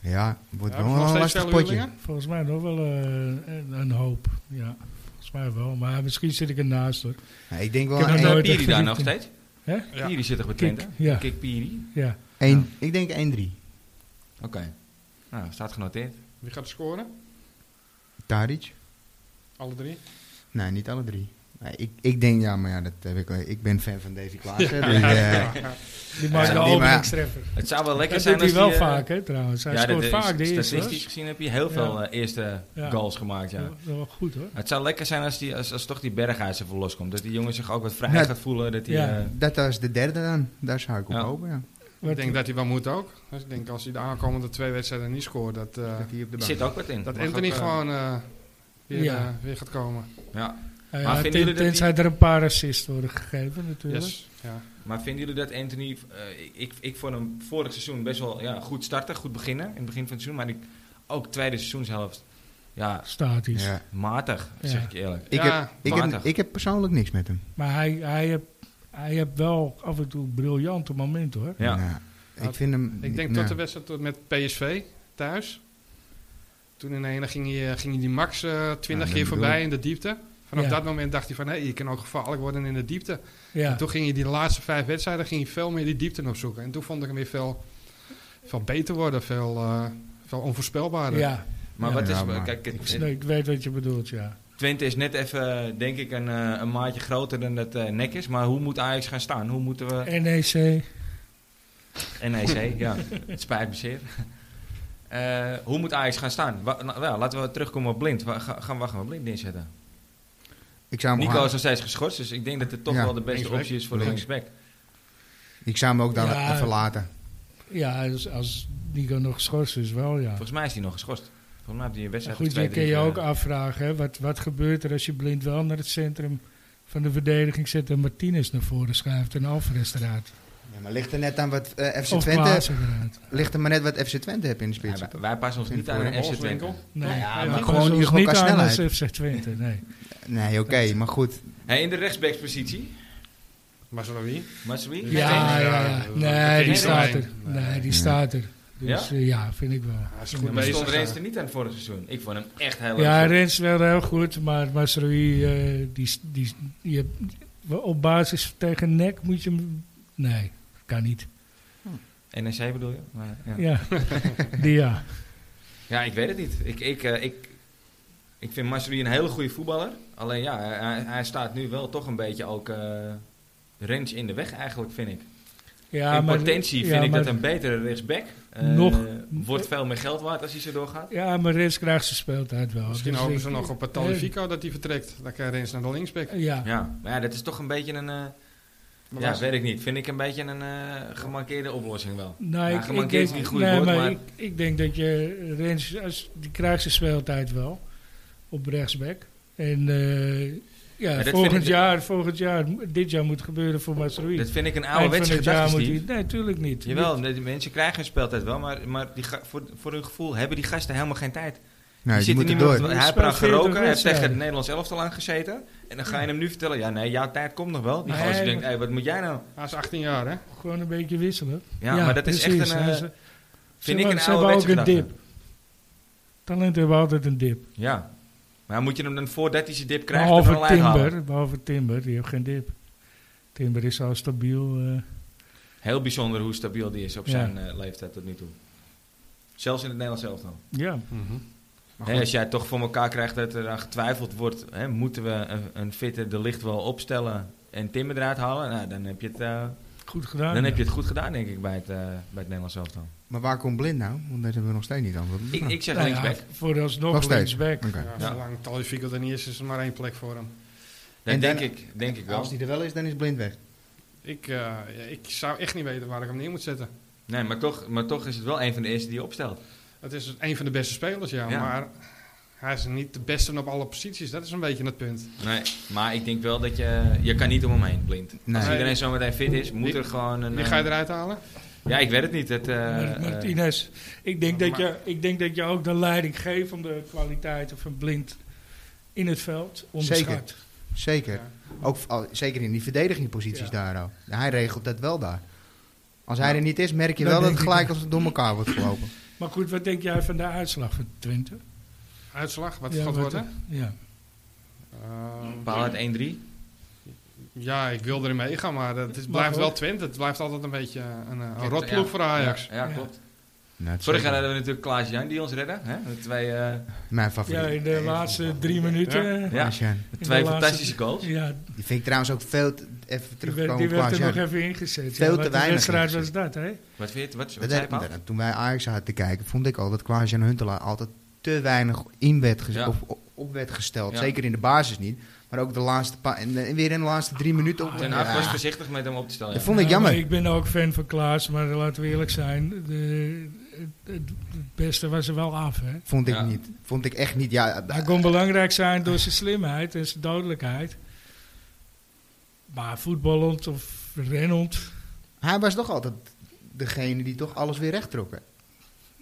Speaker 4: Ja, wordt
Speaker 3: Ja,
Speaker 4: wel
Speaker 3: nog
Speaker 4: een
Speaker 3: steeds
Speaker 4: lastig
Speaker 3: veel
Speaker 4: potje.
Speaker 3: huurlingen?
Speaker 2: Volgens mij nog wel eh, een, een hoop. Ja, volgens mij wel. Maar misschien zit ik ernaast hoor.
Speaker 4: Maar ik denk
Speaker 2: Ik
Speaker 4: wel
Speaker 2: heb nog
Speaker 4: één-
Speaker 1: Staat
Speaker 2: nooit
Speaker 1: Piri
Speaker 2: echt
Speaker 1: daar
Speaker 2: gezien.
Speaker 1: nog steeds?
Speaker 2: Hè?
Speaker 3: Ja.
Speaker 1: Piri zit er bij
Speaker 2: Kik,
Speaker 1: Twente?
Speaker 2: ja.
Speaker 1: Kik Piri?
Speaker 2: Ja.
Speaker 4: één- Ik denk 1-3.
Speaker 1: Oké. Nou, staat genoteerd.
Speaker 3: Wie gaat scoren?
Speaker 4: Tadic?
Speaker 3: Alle drie?
Speaker 4: Nee, niet alle drie. Nee, ik, ik denk, ja, maar ja, dat heb ik, al- ik ben fan van Davy Klaassen. dus, eh,
Speaker 2: Die maakt
Speaker 1: Ja,
Speaker 2: de
Speaker 4: die maar-
Speaker 2: openingstreffer.
Speaker 1: Het zou wel lekker
Speaker 2: Dat
Speaker 1: zijn
Speaker 2: doet hij
Speaker 1: als
Speaker 2: wel
Speaker 1: die, eh,
Speaker 2: vaak hè trouwens. Hij
Speaker 1: ja, dat
Speaker 2: scoort
Speaker 1: is-
Speaker 2: vaak de eerste. hoor.
Speaker 1: Statistisch gezien heb je heel veel eh, eerste
Speaker 2: Ja.
Speaker 1: goals gemaakt, ja.
Speaker 2: Dat was wel goed hoor.
Speaker 1: Het zou lekker zijn als, die, als, als toch die Berghuis even loskomt. Dat die jongen zich ook wat vrij
Speaker 4: Ja.
Speaker 1: gaat voelen. Dat die,
Speaker 2: Ja.
Speaker 1: eh,
Speaker 4: dat was de derde dan. Daar zou ik op
Speaker 1: Ja.
Speaker 4: hopen, ja.
Speaker 2: Wat-
Speaker 3: Ik denk dat hij wel moet ook. Dus ik denk als hij de aankomende twee wedstrijden niet scoort, dat, eh,
Speaker 4: Dat hij op de
Speaker 1: er
Speaker 4: bank.
Speaker 1: zit ook wat in.
Speaker 3: dat
Speaker 1: Mag
Speaker 3: Anthony
Speaker 1: ook, eh,
Speaker 3: gewoon eh, weer,
Speaker 2: Ja.
Speaker 3: eh, weer gaat komen.
Speaker 1: ja.
Speaker 2: Ja,
Speaker 1: Maar vinden
Speaker 2: ten-
Speaker 1: jullie dat
Speaker 2: tenzij er een paar assists worden gegeven natuurlijk.
Speaker 3: Yes. Ja.
Speaker 1: Maar vinden jullie dat Anthony... eh, ik- ik, ik vond hem vorig seizoen best wel ja, goed starten, goed beginnen. In het begin van het seizoen. Maar ik, ook tweede seizoenshelft. Ja,
Speaker 2: Statisch.
Speaker 4: Ja.
Speaker 1: matig,
Speaker 2: Ja.
Speaker 1: zeg ik eerlijk.
Speaker 4: Ik,
Speaker 3: Ja,
Speaker 4: heb, ik, heb,
Speaker 1: matig.
Speaker 4: ik heb persoonlijk niks met hem.
Speaker 2: Maar hij, hij heeft hij heeft wel af en toe briljante momenten hoor.
Speaker 1: Ja.
Speaker 4: Nou, ik
Speaker 3: Dat-
Speaker 4: vind hem...
Speaker 3: Ik denk
Speaker 4: nou,
Speaker 3: tot de wedstrijd tot met PSV thuis. Toen in de ene ging hij, ging hij die max eh 20
Speaker 4: Ja,
Speaker 3: keer
Speaker 4: dat
Speaker 3: voorbij
Speaker 4: bedoel
Speaker 3: in de diepte. Vanaf
Speaker 2: Ja.
Speaker 3: dat moment dacht hij van, hé, je kan ook gevaarlijk worden in de diepte.
Speaker 2: Ja.
Speaker 3: En toen ging hij die laatste vijf wedstrijden ging hij veel meer die diepte opzoeken. En toen vond ik hem weer veel, veel beter worden, veel, eh, veel onvoorspelbaarder.
Speaker 2: ja.
Speaker 1: Maar
Speaker 4: Ja.
Speaker 1: wat is...
Speaker 4: Ja, maar
Speaker 1: kijk, het-
Speaker 2: Nee, ik weet wat je bedoelt ja.
Speaker 1: Twente is net even, denk ik, een, eh, een maatje groter dan dat eh nek is. Maar hoe moet Ajax gaan staan? Hoe moeten we...
Speaker 2: NEC.
Speaker 1: NEC, ja. Het spijt me zeer. Eh, hoe moet Ajax gaan staan? Wa- nou, ja, laten we terugkomen op Blind. Wa- ga- gaan we gaan we Blind inzetten?
Speaker 4: Ik zou hem,
Speaker 1: Nico is
Speaker 4: gewoon-
Speaker 1: nog steeds geschorst, dus ik denk dat het toch
Speaker 4: Ja,
Speaker 1: wel de beste
Speaker 3: linksback.
Speaker 1: optie is voor de
Speaker 4: Links.
Speaker 1: linksback.
Speaker 4: ik zou hem ook dan
Speaker 2: Ja.
Speaker 4: even laten.
Speaker 2: Ja, als, als Nico nog schorst is wel ja.
Speaker 1: Volgens mij is hij nog geschorst. Volgens mij heeft hij een wedstrijd
Speaker 2: Goed,
Speaker 1: of
Speaker 2: je
Speaker 1: twee,
Speaker 2: kun je
Speaker 1: drie,
Speaker 2: ook
Speaker 1: eh,
Speaker 2: afvragen, hè, wat, wat gebeurt er als je blind wel naar het centrum van de verdediging zet en Martinez naar voren schuift en Alvarez eruit.
Speaker 4: Ja, maar ligt er net aan wat eh, FC
Speaker 2: Of
Speaker 4: Twente...
Speaker 2: Klaassen eruit.
Speaker 4: Ligt er maar net wat FC Twente heeft in de spits.
Speaker 1: wij, wij passen ons
Speaker 4: In
Speaker 1: niet
Speaker 4: voor
Speaker 1: aan
Speaker 4: een
Speaker 1: een FC
Speaker 3: Wolfswinkel.
Speaker 1: Twente.
Speaker 2: Nee,
Speaker 4: Nou ja,
Speaker 2: we
Speaker 4: maar
Speaker 2: passen
Speaker 4: gewoon
Speaker 2: ons
Speaker 4: hier gewoon
Speaker 2: niet
Speaker 4: qua
Speaker 2: aan als
Speaker 4: snelheid.
Speaker 2: FC Twente, nee.
Speaker 4: Nee, oké, maar goed. Nou,
Speaker 1: Hey, in de rechtsbackspositie,
Speaker 3: Maar zo wie?
Speaker 1: Masri.
Speaker 2: Ja,
Speaker 3: Ja,
Speaker 2: ja,
Speaker 3: ja.
Speaker 2: ja.
Speaker 3: Nee,
Speaker 2: Nee, die staat er.
Speaker 3: nee.
Speaker 2: Nee, die
Speaker 4: Ja.
Speaker 2: staat er. Dus eh, ja, vind ik wel.
Speaker 3: Hij is
Speaker 1: Ja,
Speaker 3: goed
Speaker 1: maar stond
Speaker 3: bezig.
Speaker 1: Reens
Speaker 3: eh.
Speaker 1: er niet aan vorig seizoen. Ik vond hem echt heel erg
Speaker 2: Ja,
Speaker 1: goed.
Speaker 2: Rens wel heel goed, maar Masrui, eh die, die, die heb- op basis tegen nek moet je hem... Nee, kan niet.
Speaker 1: NEC bedoel je? Maar, ja. Ja.
Speaker 2: Ja, die ja.
Speaker 1: ik weet het niet. Ik, ik, eh, ik, ik vind Masri een hele goede voetballer. Alleen ja, hij, hij staat nu wel toch een beetje ook eh range in de weg eigenlijk, vind ik.
Speaker 2: ja
Speaker 1: in
Speaker 2: maar-
Speaker 1: potentie
Speaker 2: ja,
Speaker 1: vind ik
Speaker 2: maar-
Speaker 1: dat een betere rechtsback. eh,
Speaker 2: Nog-
Speaker 1: Wordt veel meer geld waard als hij zo doorgaat.
Speaker 2: Ja, maar Rens krijgt zijn speeltijd wel.
Speaker 3: Misschien
Speaker 2: Dus
Speaker 3: hopen
Speaker 2: ik-
Speaker 3: ze nog op het Talifico dat hij vertrekt. Dan kan Rens naar de linksback.
Speaker 2: Ja,
Speaker 1: Ja, maar ja, dat is toch een beetje een... eh,
Speaker 3: Maar
Speaker 1: ja,
Speaker 3: was-
Speaker 1: weet ik niet. Vind ik een beetje een eh, gemarkeerde oplossing wel.
Speaker 2: nou,
Speaker 1: Ja,
Speaker 2: ik, ik
Speaker 1: gemankeerd is
Speaker 2: denk,
Speaker 1: niet goed
Speaker 2: nee,
Speaker 1: woord,
Speaker 2: maar
Speaker 1: maar-
Speaker 2: Ik, ik denk dat je Rens, als, die krijgt zijn speeltijd wel op rechtsback. En eh, ja,
Speaker 1: dat vind
Speaker 2: volgend
Speaker 1: ik-
Speaker 2: jaar, volgend jaar, dit jaar moet gebeuren voor Masrui.
Speaker 1: Dat vind ik een
Speaker 2: Eind van
Speaker 1: ouderwetse
Speaker 2: het jaar
Speaker 1: gedachte,
Speaker 2: moet
Speaker 1: Steve.
Speaker 2: hij- Nee, tuurlijk niet.
Speaker 1: Jawel, de- de mensen krijgen hun speeltijd wel, maar, maar die ga- voor, voor hun gevoel hebben die gasten helemaal geen tijd.
Speaker 4: Nee,
Speaker 1: Die
Speaker 4: die
Speaker 1: zit er
Speaker 4: moeten
Speaker 1: niet meer
Speaker 4: door.
Speaker 1: op-
Speaker 2: door.
Speaker 1: hij heeft
Speaker 2: Hij
Speaker 1: eraan
Speaker 2: speelt
Speaker 1: geroken,
Speaker 2: 40
Speaker 1: hij heeft tegen het
Speaker 2: wedstrijden.
Speaker 1: Nederlands elftal aan gezeten. En dan ga je hem nu vertellen, ja nee, jouw tijd komt nog wel. Die
Speaker 2: Nee.
Speaker 1: gozer denkt, hey, wat moet jij nou?
Speaker 3: Hij is 18 jaar, hè?
Speaker 2: Gewoon een beetje wisselen.
Speaker 1: Ja, maar dat is
Speaker 2: precies.
Speaker 1: echt een,
Speaker 2: Ja,
Speaker 1: eh,
Speaker 2: ze- ze
Speaker 1: vind ik een
Speaker 2: hebben- ze hebben ook
Speaker 1: ouderwetse
Speaker 2: een
Speaker 1: gedachte.
Speaker 2: dip. Talenten hebben altijd een dip.
Speaker 1: Ja, maar moet je hem dan voordat hij zijn dip krijgt er
Speaker 2: behalve
Speaker 1: wel uithalen?
Speaker 2: Timber, behalve Timber, die heeft geen dip. Timber is al stabiel. eh,
Speaker 1: Heel bijzonder hoe stabiel die is op
Speaker 2: Ja.
Speaker 1: zijn eh, leeftijd tot nu toe. Zelfs in het Nederlands elftal.
Speaker 2: ja,
Speaker 1: Hè, als jij toch voor elkaar krijgt dat er aan getwijfeld wordt, hè, moeten we een, een fitte de licht wel opstellen en Timmer eruit halen? Nou, dan heb je het eh,
Speaker 2: Goed gedaan.
Speaker 1: Dan heb je
Speaker 2: ja.
Speaker 1: het goed gedaan, denk ik, bij het, eh, bij het Nederlands elftal.
Speaker 4: Maar waar komt Blind nou? Want dat hebben we nog steeds niet antwoord.
Speaker 1: Ik, ik zeg
Speaker 2: Nou ja,
Speaker 1: linksback.
Speaker 2: Vooralsnog
Speaker 4: Nog steeds.
Speaker 2: linksback.
Speaker 4: Oké.
Speaker 3: Ja,
Speaker 1: Ja.
Speaker 3: Zolang Talifico er niet is, is er maar één plek voor hem.
Speaker 1: Dat
Speaker 4: En dan-
Speaker 1: denk, ik, denk ik wel.
Speaker 4: Als die er wel is, dan is Blind weg.
Speaker 3: Ik, eh, ja, ik zou echt niet weten waar ik hem neer moet zetten.
Speaker 1: Nee, maar toch, maar toch is het wel een van de eerste die je opstelt.
Speaker 3: Het is een van de beste spelers, ja,
Speaker 1: Ja.
Speaker 3: Maar hij is niet de beste op alle posities. Dat is een beetje het punt.
Speaker 1: Nee, maar ik denk wel dat je... Je kan niet om hem heen, blind.
Speaker 4: Nee.
Speaker 1: Als iedereen zometeen fit is, moet er gewoon een...
Speaker 3: Wie ga je
Speaker 1: eh,
Speaker 3: eruit halen?
Speaker 1: Ja, ik weet het niet. Het, eh,
Speaker 2: Mark
Speaker 1: eh,
Speaker 2: Martinez, ik denk, dat
Speaker 3: maar-
Speaker 2: je, ik denk dat je ook de leidinggevende kwaliteiten van Blind in het veld onderschat.
Speaker 4: Zeker.
Speaker 3: Ja.
Speaker 4: Ook, al- zeker in die verdedigingposities
Speaker 2: Ja.
Speaker 4: daar al. Hij regelt dat wel daar. Als
Speaker 1: Nou,
Speaker 4: hij er niet is, merk je
Speaker 2: Dat
Speaker 4: wel dat
Speaker 2: denk
Speaker 4: het
Speaker 2: ik
Speaker 4: gelijk
Speaker 2: ook.
Speaker 4: als het door elkaar wordt gelopen.
Speaker 2: Maar goed, wat denk jij van de uitslag van Twente?
Speaker 3: Uitslag, wat
Speaker 2: Ja,
Speaker 3: gaat
Speaker 2: wat-
Speaker 3: worden?
Speaker 2: Ja.
Speaker 3: Ehm,
Speaker 1: Paal uit 1-3.
Speaker 3: ja, ik wil erin meegaan, maar het is-
Speaker 2: Mag
Speaker 3: blijft
Speaker 2: ook.
Speaker 3: wel Twente. Het blijft altijd een beetje een, eh, een
Speaker 1: Ja,
Speaker 3: rotploeg voor Ajax.
Speaker 1: Ja, ja,
Speaker 2: Ja.
Speaker 1: klopt.
Speaker 4: Nee, het is
Speaker 1: Vorig jaar
Speaker 4: zeker.
Speaker 1: hadden we natuurlijk Klaas Jan die ons redde. Hè? Met twee, eh,
Speaker 4: Mijn
Speaker 2: ja,
Speaker 4: favoriet.
Speaker 2: in de laatste drie minuten. Ja,
Speaker 1: ja,
Speaker 4: Klaas Jan.
Speaker 1: met twee
Speaker 2: de laatste-
Speaker 1: fantastische goals.
Speaker 4: Die vind ik trouwens ook veel te, even
Speaker 2: die werd,
Speaker 4: terugkomen
Speaker 2: die
Speaker 4: op
Speaker 2: werd
Speaker 4: Klaas
Speaker 2: er
Speaker 4: Jan.
Speaker 2: nog even ingezet.
Speaker 4: Veel
Speaker 2: ja,
Speaker 4: te
Speaker 2: wat een
Speaker 4: weinig
Speaker 2: wedstrijd was
Speaker 4: ingezet.
Speaker 2: dat, hè?
Speaker 1: Wat, vind je- wat, wat
Speaker 4: Dat
Speaker 1: zei je,
Speaker 4: heb-
Speaker 1: Paul?
Speaker 4: dat- toen wij Ajax hadden te kijken, vond ik al dat Klaas Jan Huntelaar altijd te weinig in werd gez-
Speaker 1: Ja.
Speaker 4: of op, op werd gesteld.
Speaker 1: Ja.
Speaker 4: Zeker in de basis niet. Maar ook de laatste pa- en, en weer in de laatste drie minuten. Op,
Speaker 1: Ten Hag
Speaker 4: Ja.
Speaker 1: was voorzichtig met hem op te stellen.
Speaker 4: Dat
Speaker 1: ja.
Speaker 4: vond ik
Speaker 2: Ja, maar
Speaker 4: jammer.
Speaker 2: Ik ben ook fan van Klaas, maar laten we eerlijk zijn. De, het, het- het beste was er wel af, hè?
Speaker 4: Vond ik
Speaker 1: Ja.
Speaker 4: niet. Vond ik echt niet. Ja,
Speaker 2: Hij kon belangrijk zijn door zijn slimheid en zijn dodelijkheid. Maar voetballend of rennend.
Speaker 4: Hij was toch altijd degene die toch alles weer recht trok. hè?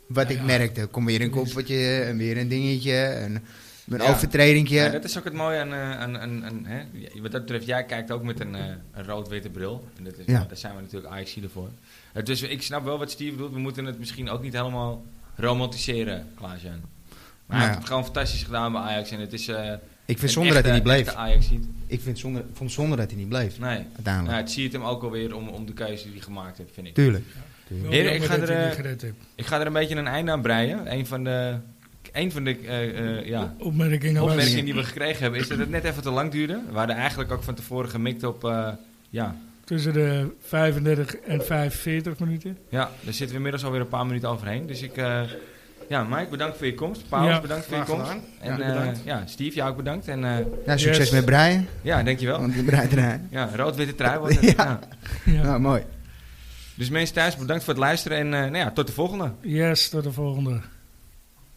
Speaker 4: Wat
Speaker 2: Ja,
Speaker 4: ik
Speaker 2: ja.
Speaker 4: merkte. Kom weer een koppeltje en weer een dingetje. En een
Speaker 1: Dus- Ja.
Speaker 4: overtredingje.
Speaker 1: Ja, dat is ook het mooie aan... eh, aan, aan, aan- hè? ja, Wat dat betreft, jij kijkt ook met een, eh, een rood-witte bril. En dat is,
Speaker 4: Ja.
Speaker 1: Daar zijn we natuurlijk ajax voor. Eh, dus ik snap wel wat Steve bedoelt. We moeten het misschien ook niet helemaal romantiseren, Klaas-Jan. Maar hij
Speaker 4: Nou ja.
Speaker 1: heeft het gewoon fantastisch gedaan bij Ajax. En het is... eh,
Speaker 4: ik
Speaker 1: een
Speaker 4: vind zonder dat hij niet
Speaker 1: echte-
Speaker 4: bleef.
Speaker 1: echte Ajax niet.
Speaker 4: Ik vind zonder, vond zonder dat hij niet bleef.
Speaker 1: Nee.
Speaker 4: Uiteindelijk.
Speaker 1: Nou, het ziet hem ook alweer om, om de keuze die hij gemaakt heeft, vind ik.
Speaker 4: Tuurlijk.
Speaker 2: Wel
Speaker 1: Heren, ik
Speaker 2: jammer
Speaker 1: ga
Speaker 2: dat
Speaker 1: er,
Speaker 2: hij
Speaker 1: eh,
Speaker 2: niet gered heeft.
Speaker 1: Ik ga er een beetje een einde aan breien. Een van de, een van de eh, eh, ja,
Speaker 2: Opmerkingen was-
Speaker 1: opmerkingen die we gekregen hebben is dat het net even te lang duurde. We hadden eigenlijk ook van tevoren gemikt op. eh, ja,
Speaker 2: tussen de 35 en 45 minuten.
Speaker 1: ja, daar zitten we inmiddels alweer een paar minuten overheen. Dus ik. eh, ja, Mike, bedankt voor je komst. Paulus,
Speaker 2: Ja,
Speaker 1: bedankt voor je
Speaker 3: graag
Speaker 1: komst.
Speaker 3: gedaan.
Speaker 1: En
Speaker 3: Ja,
Speaker 1: eh,
Speaker 3: bedankt.
Speaker 1: ja, Steve, jou ook bedankt. En eh,
Speaker 4: Nou, succes
Speaker 2: Yes.
Speaker 4: met Brian.
Speaker 1: ja, dankjewel.
Speaker 4: Want je breidt eraan.
Speaker 1: Ja, rood-witte trui was het. ja.
Speaker 4: Ja.
Speaker 2: Ja.
Speaker 4: Nou, mooi.
Speaker 1: Dus mensen thuis, bedankt voor het luisteren. En eh, nou ja, tot de volgende.
Speaker 2: Yes, tot de volgende.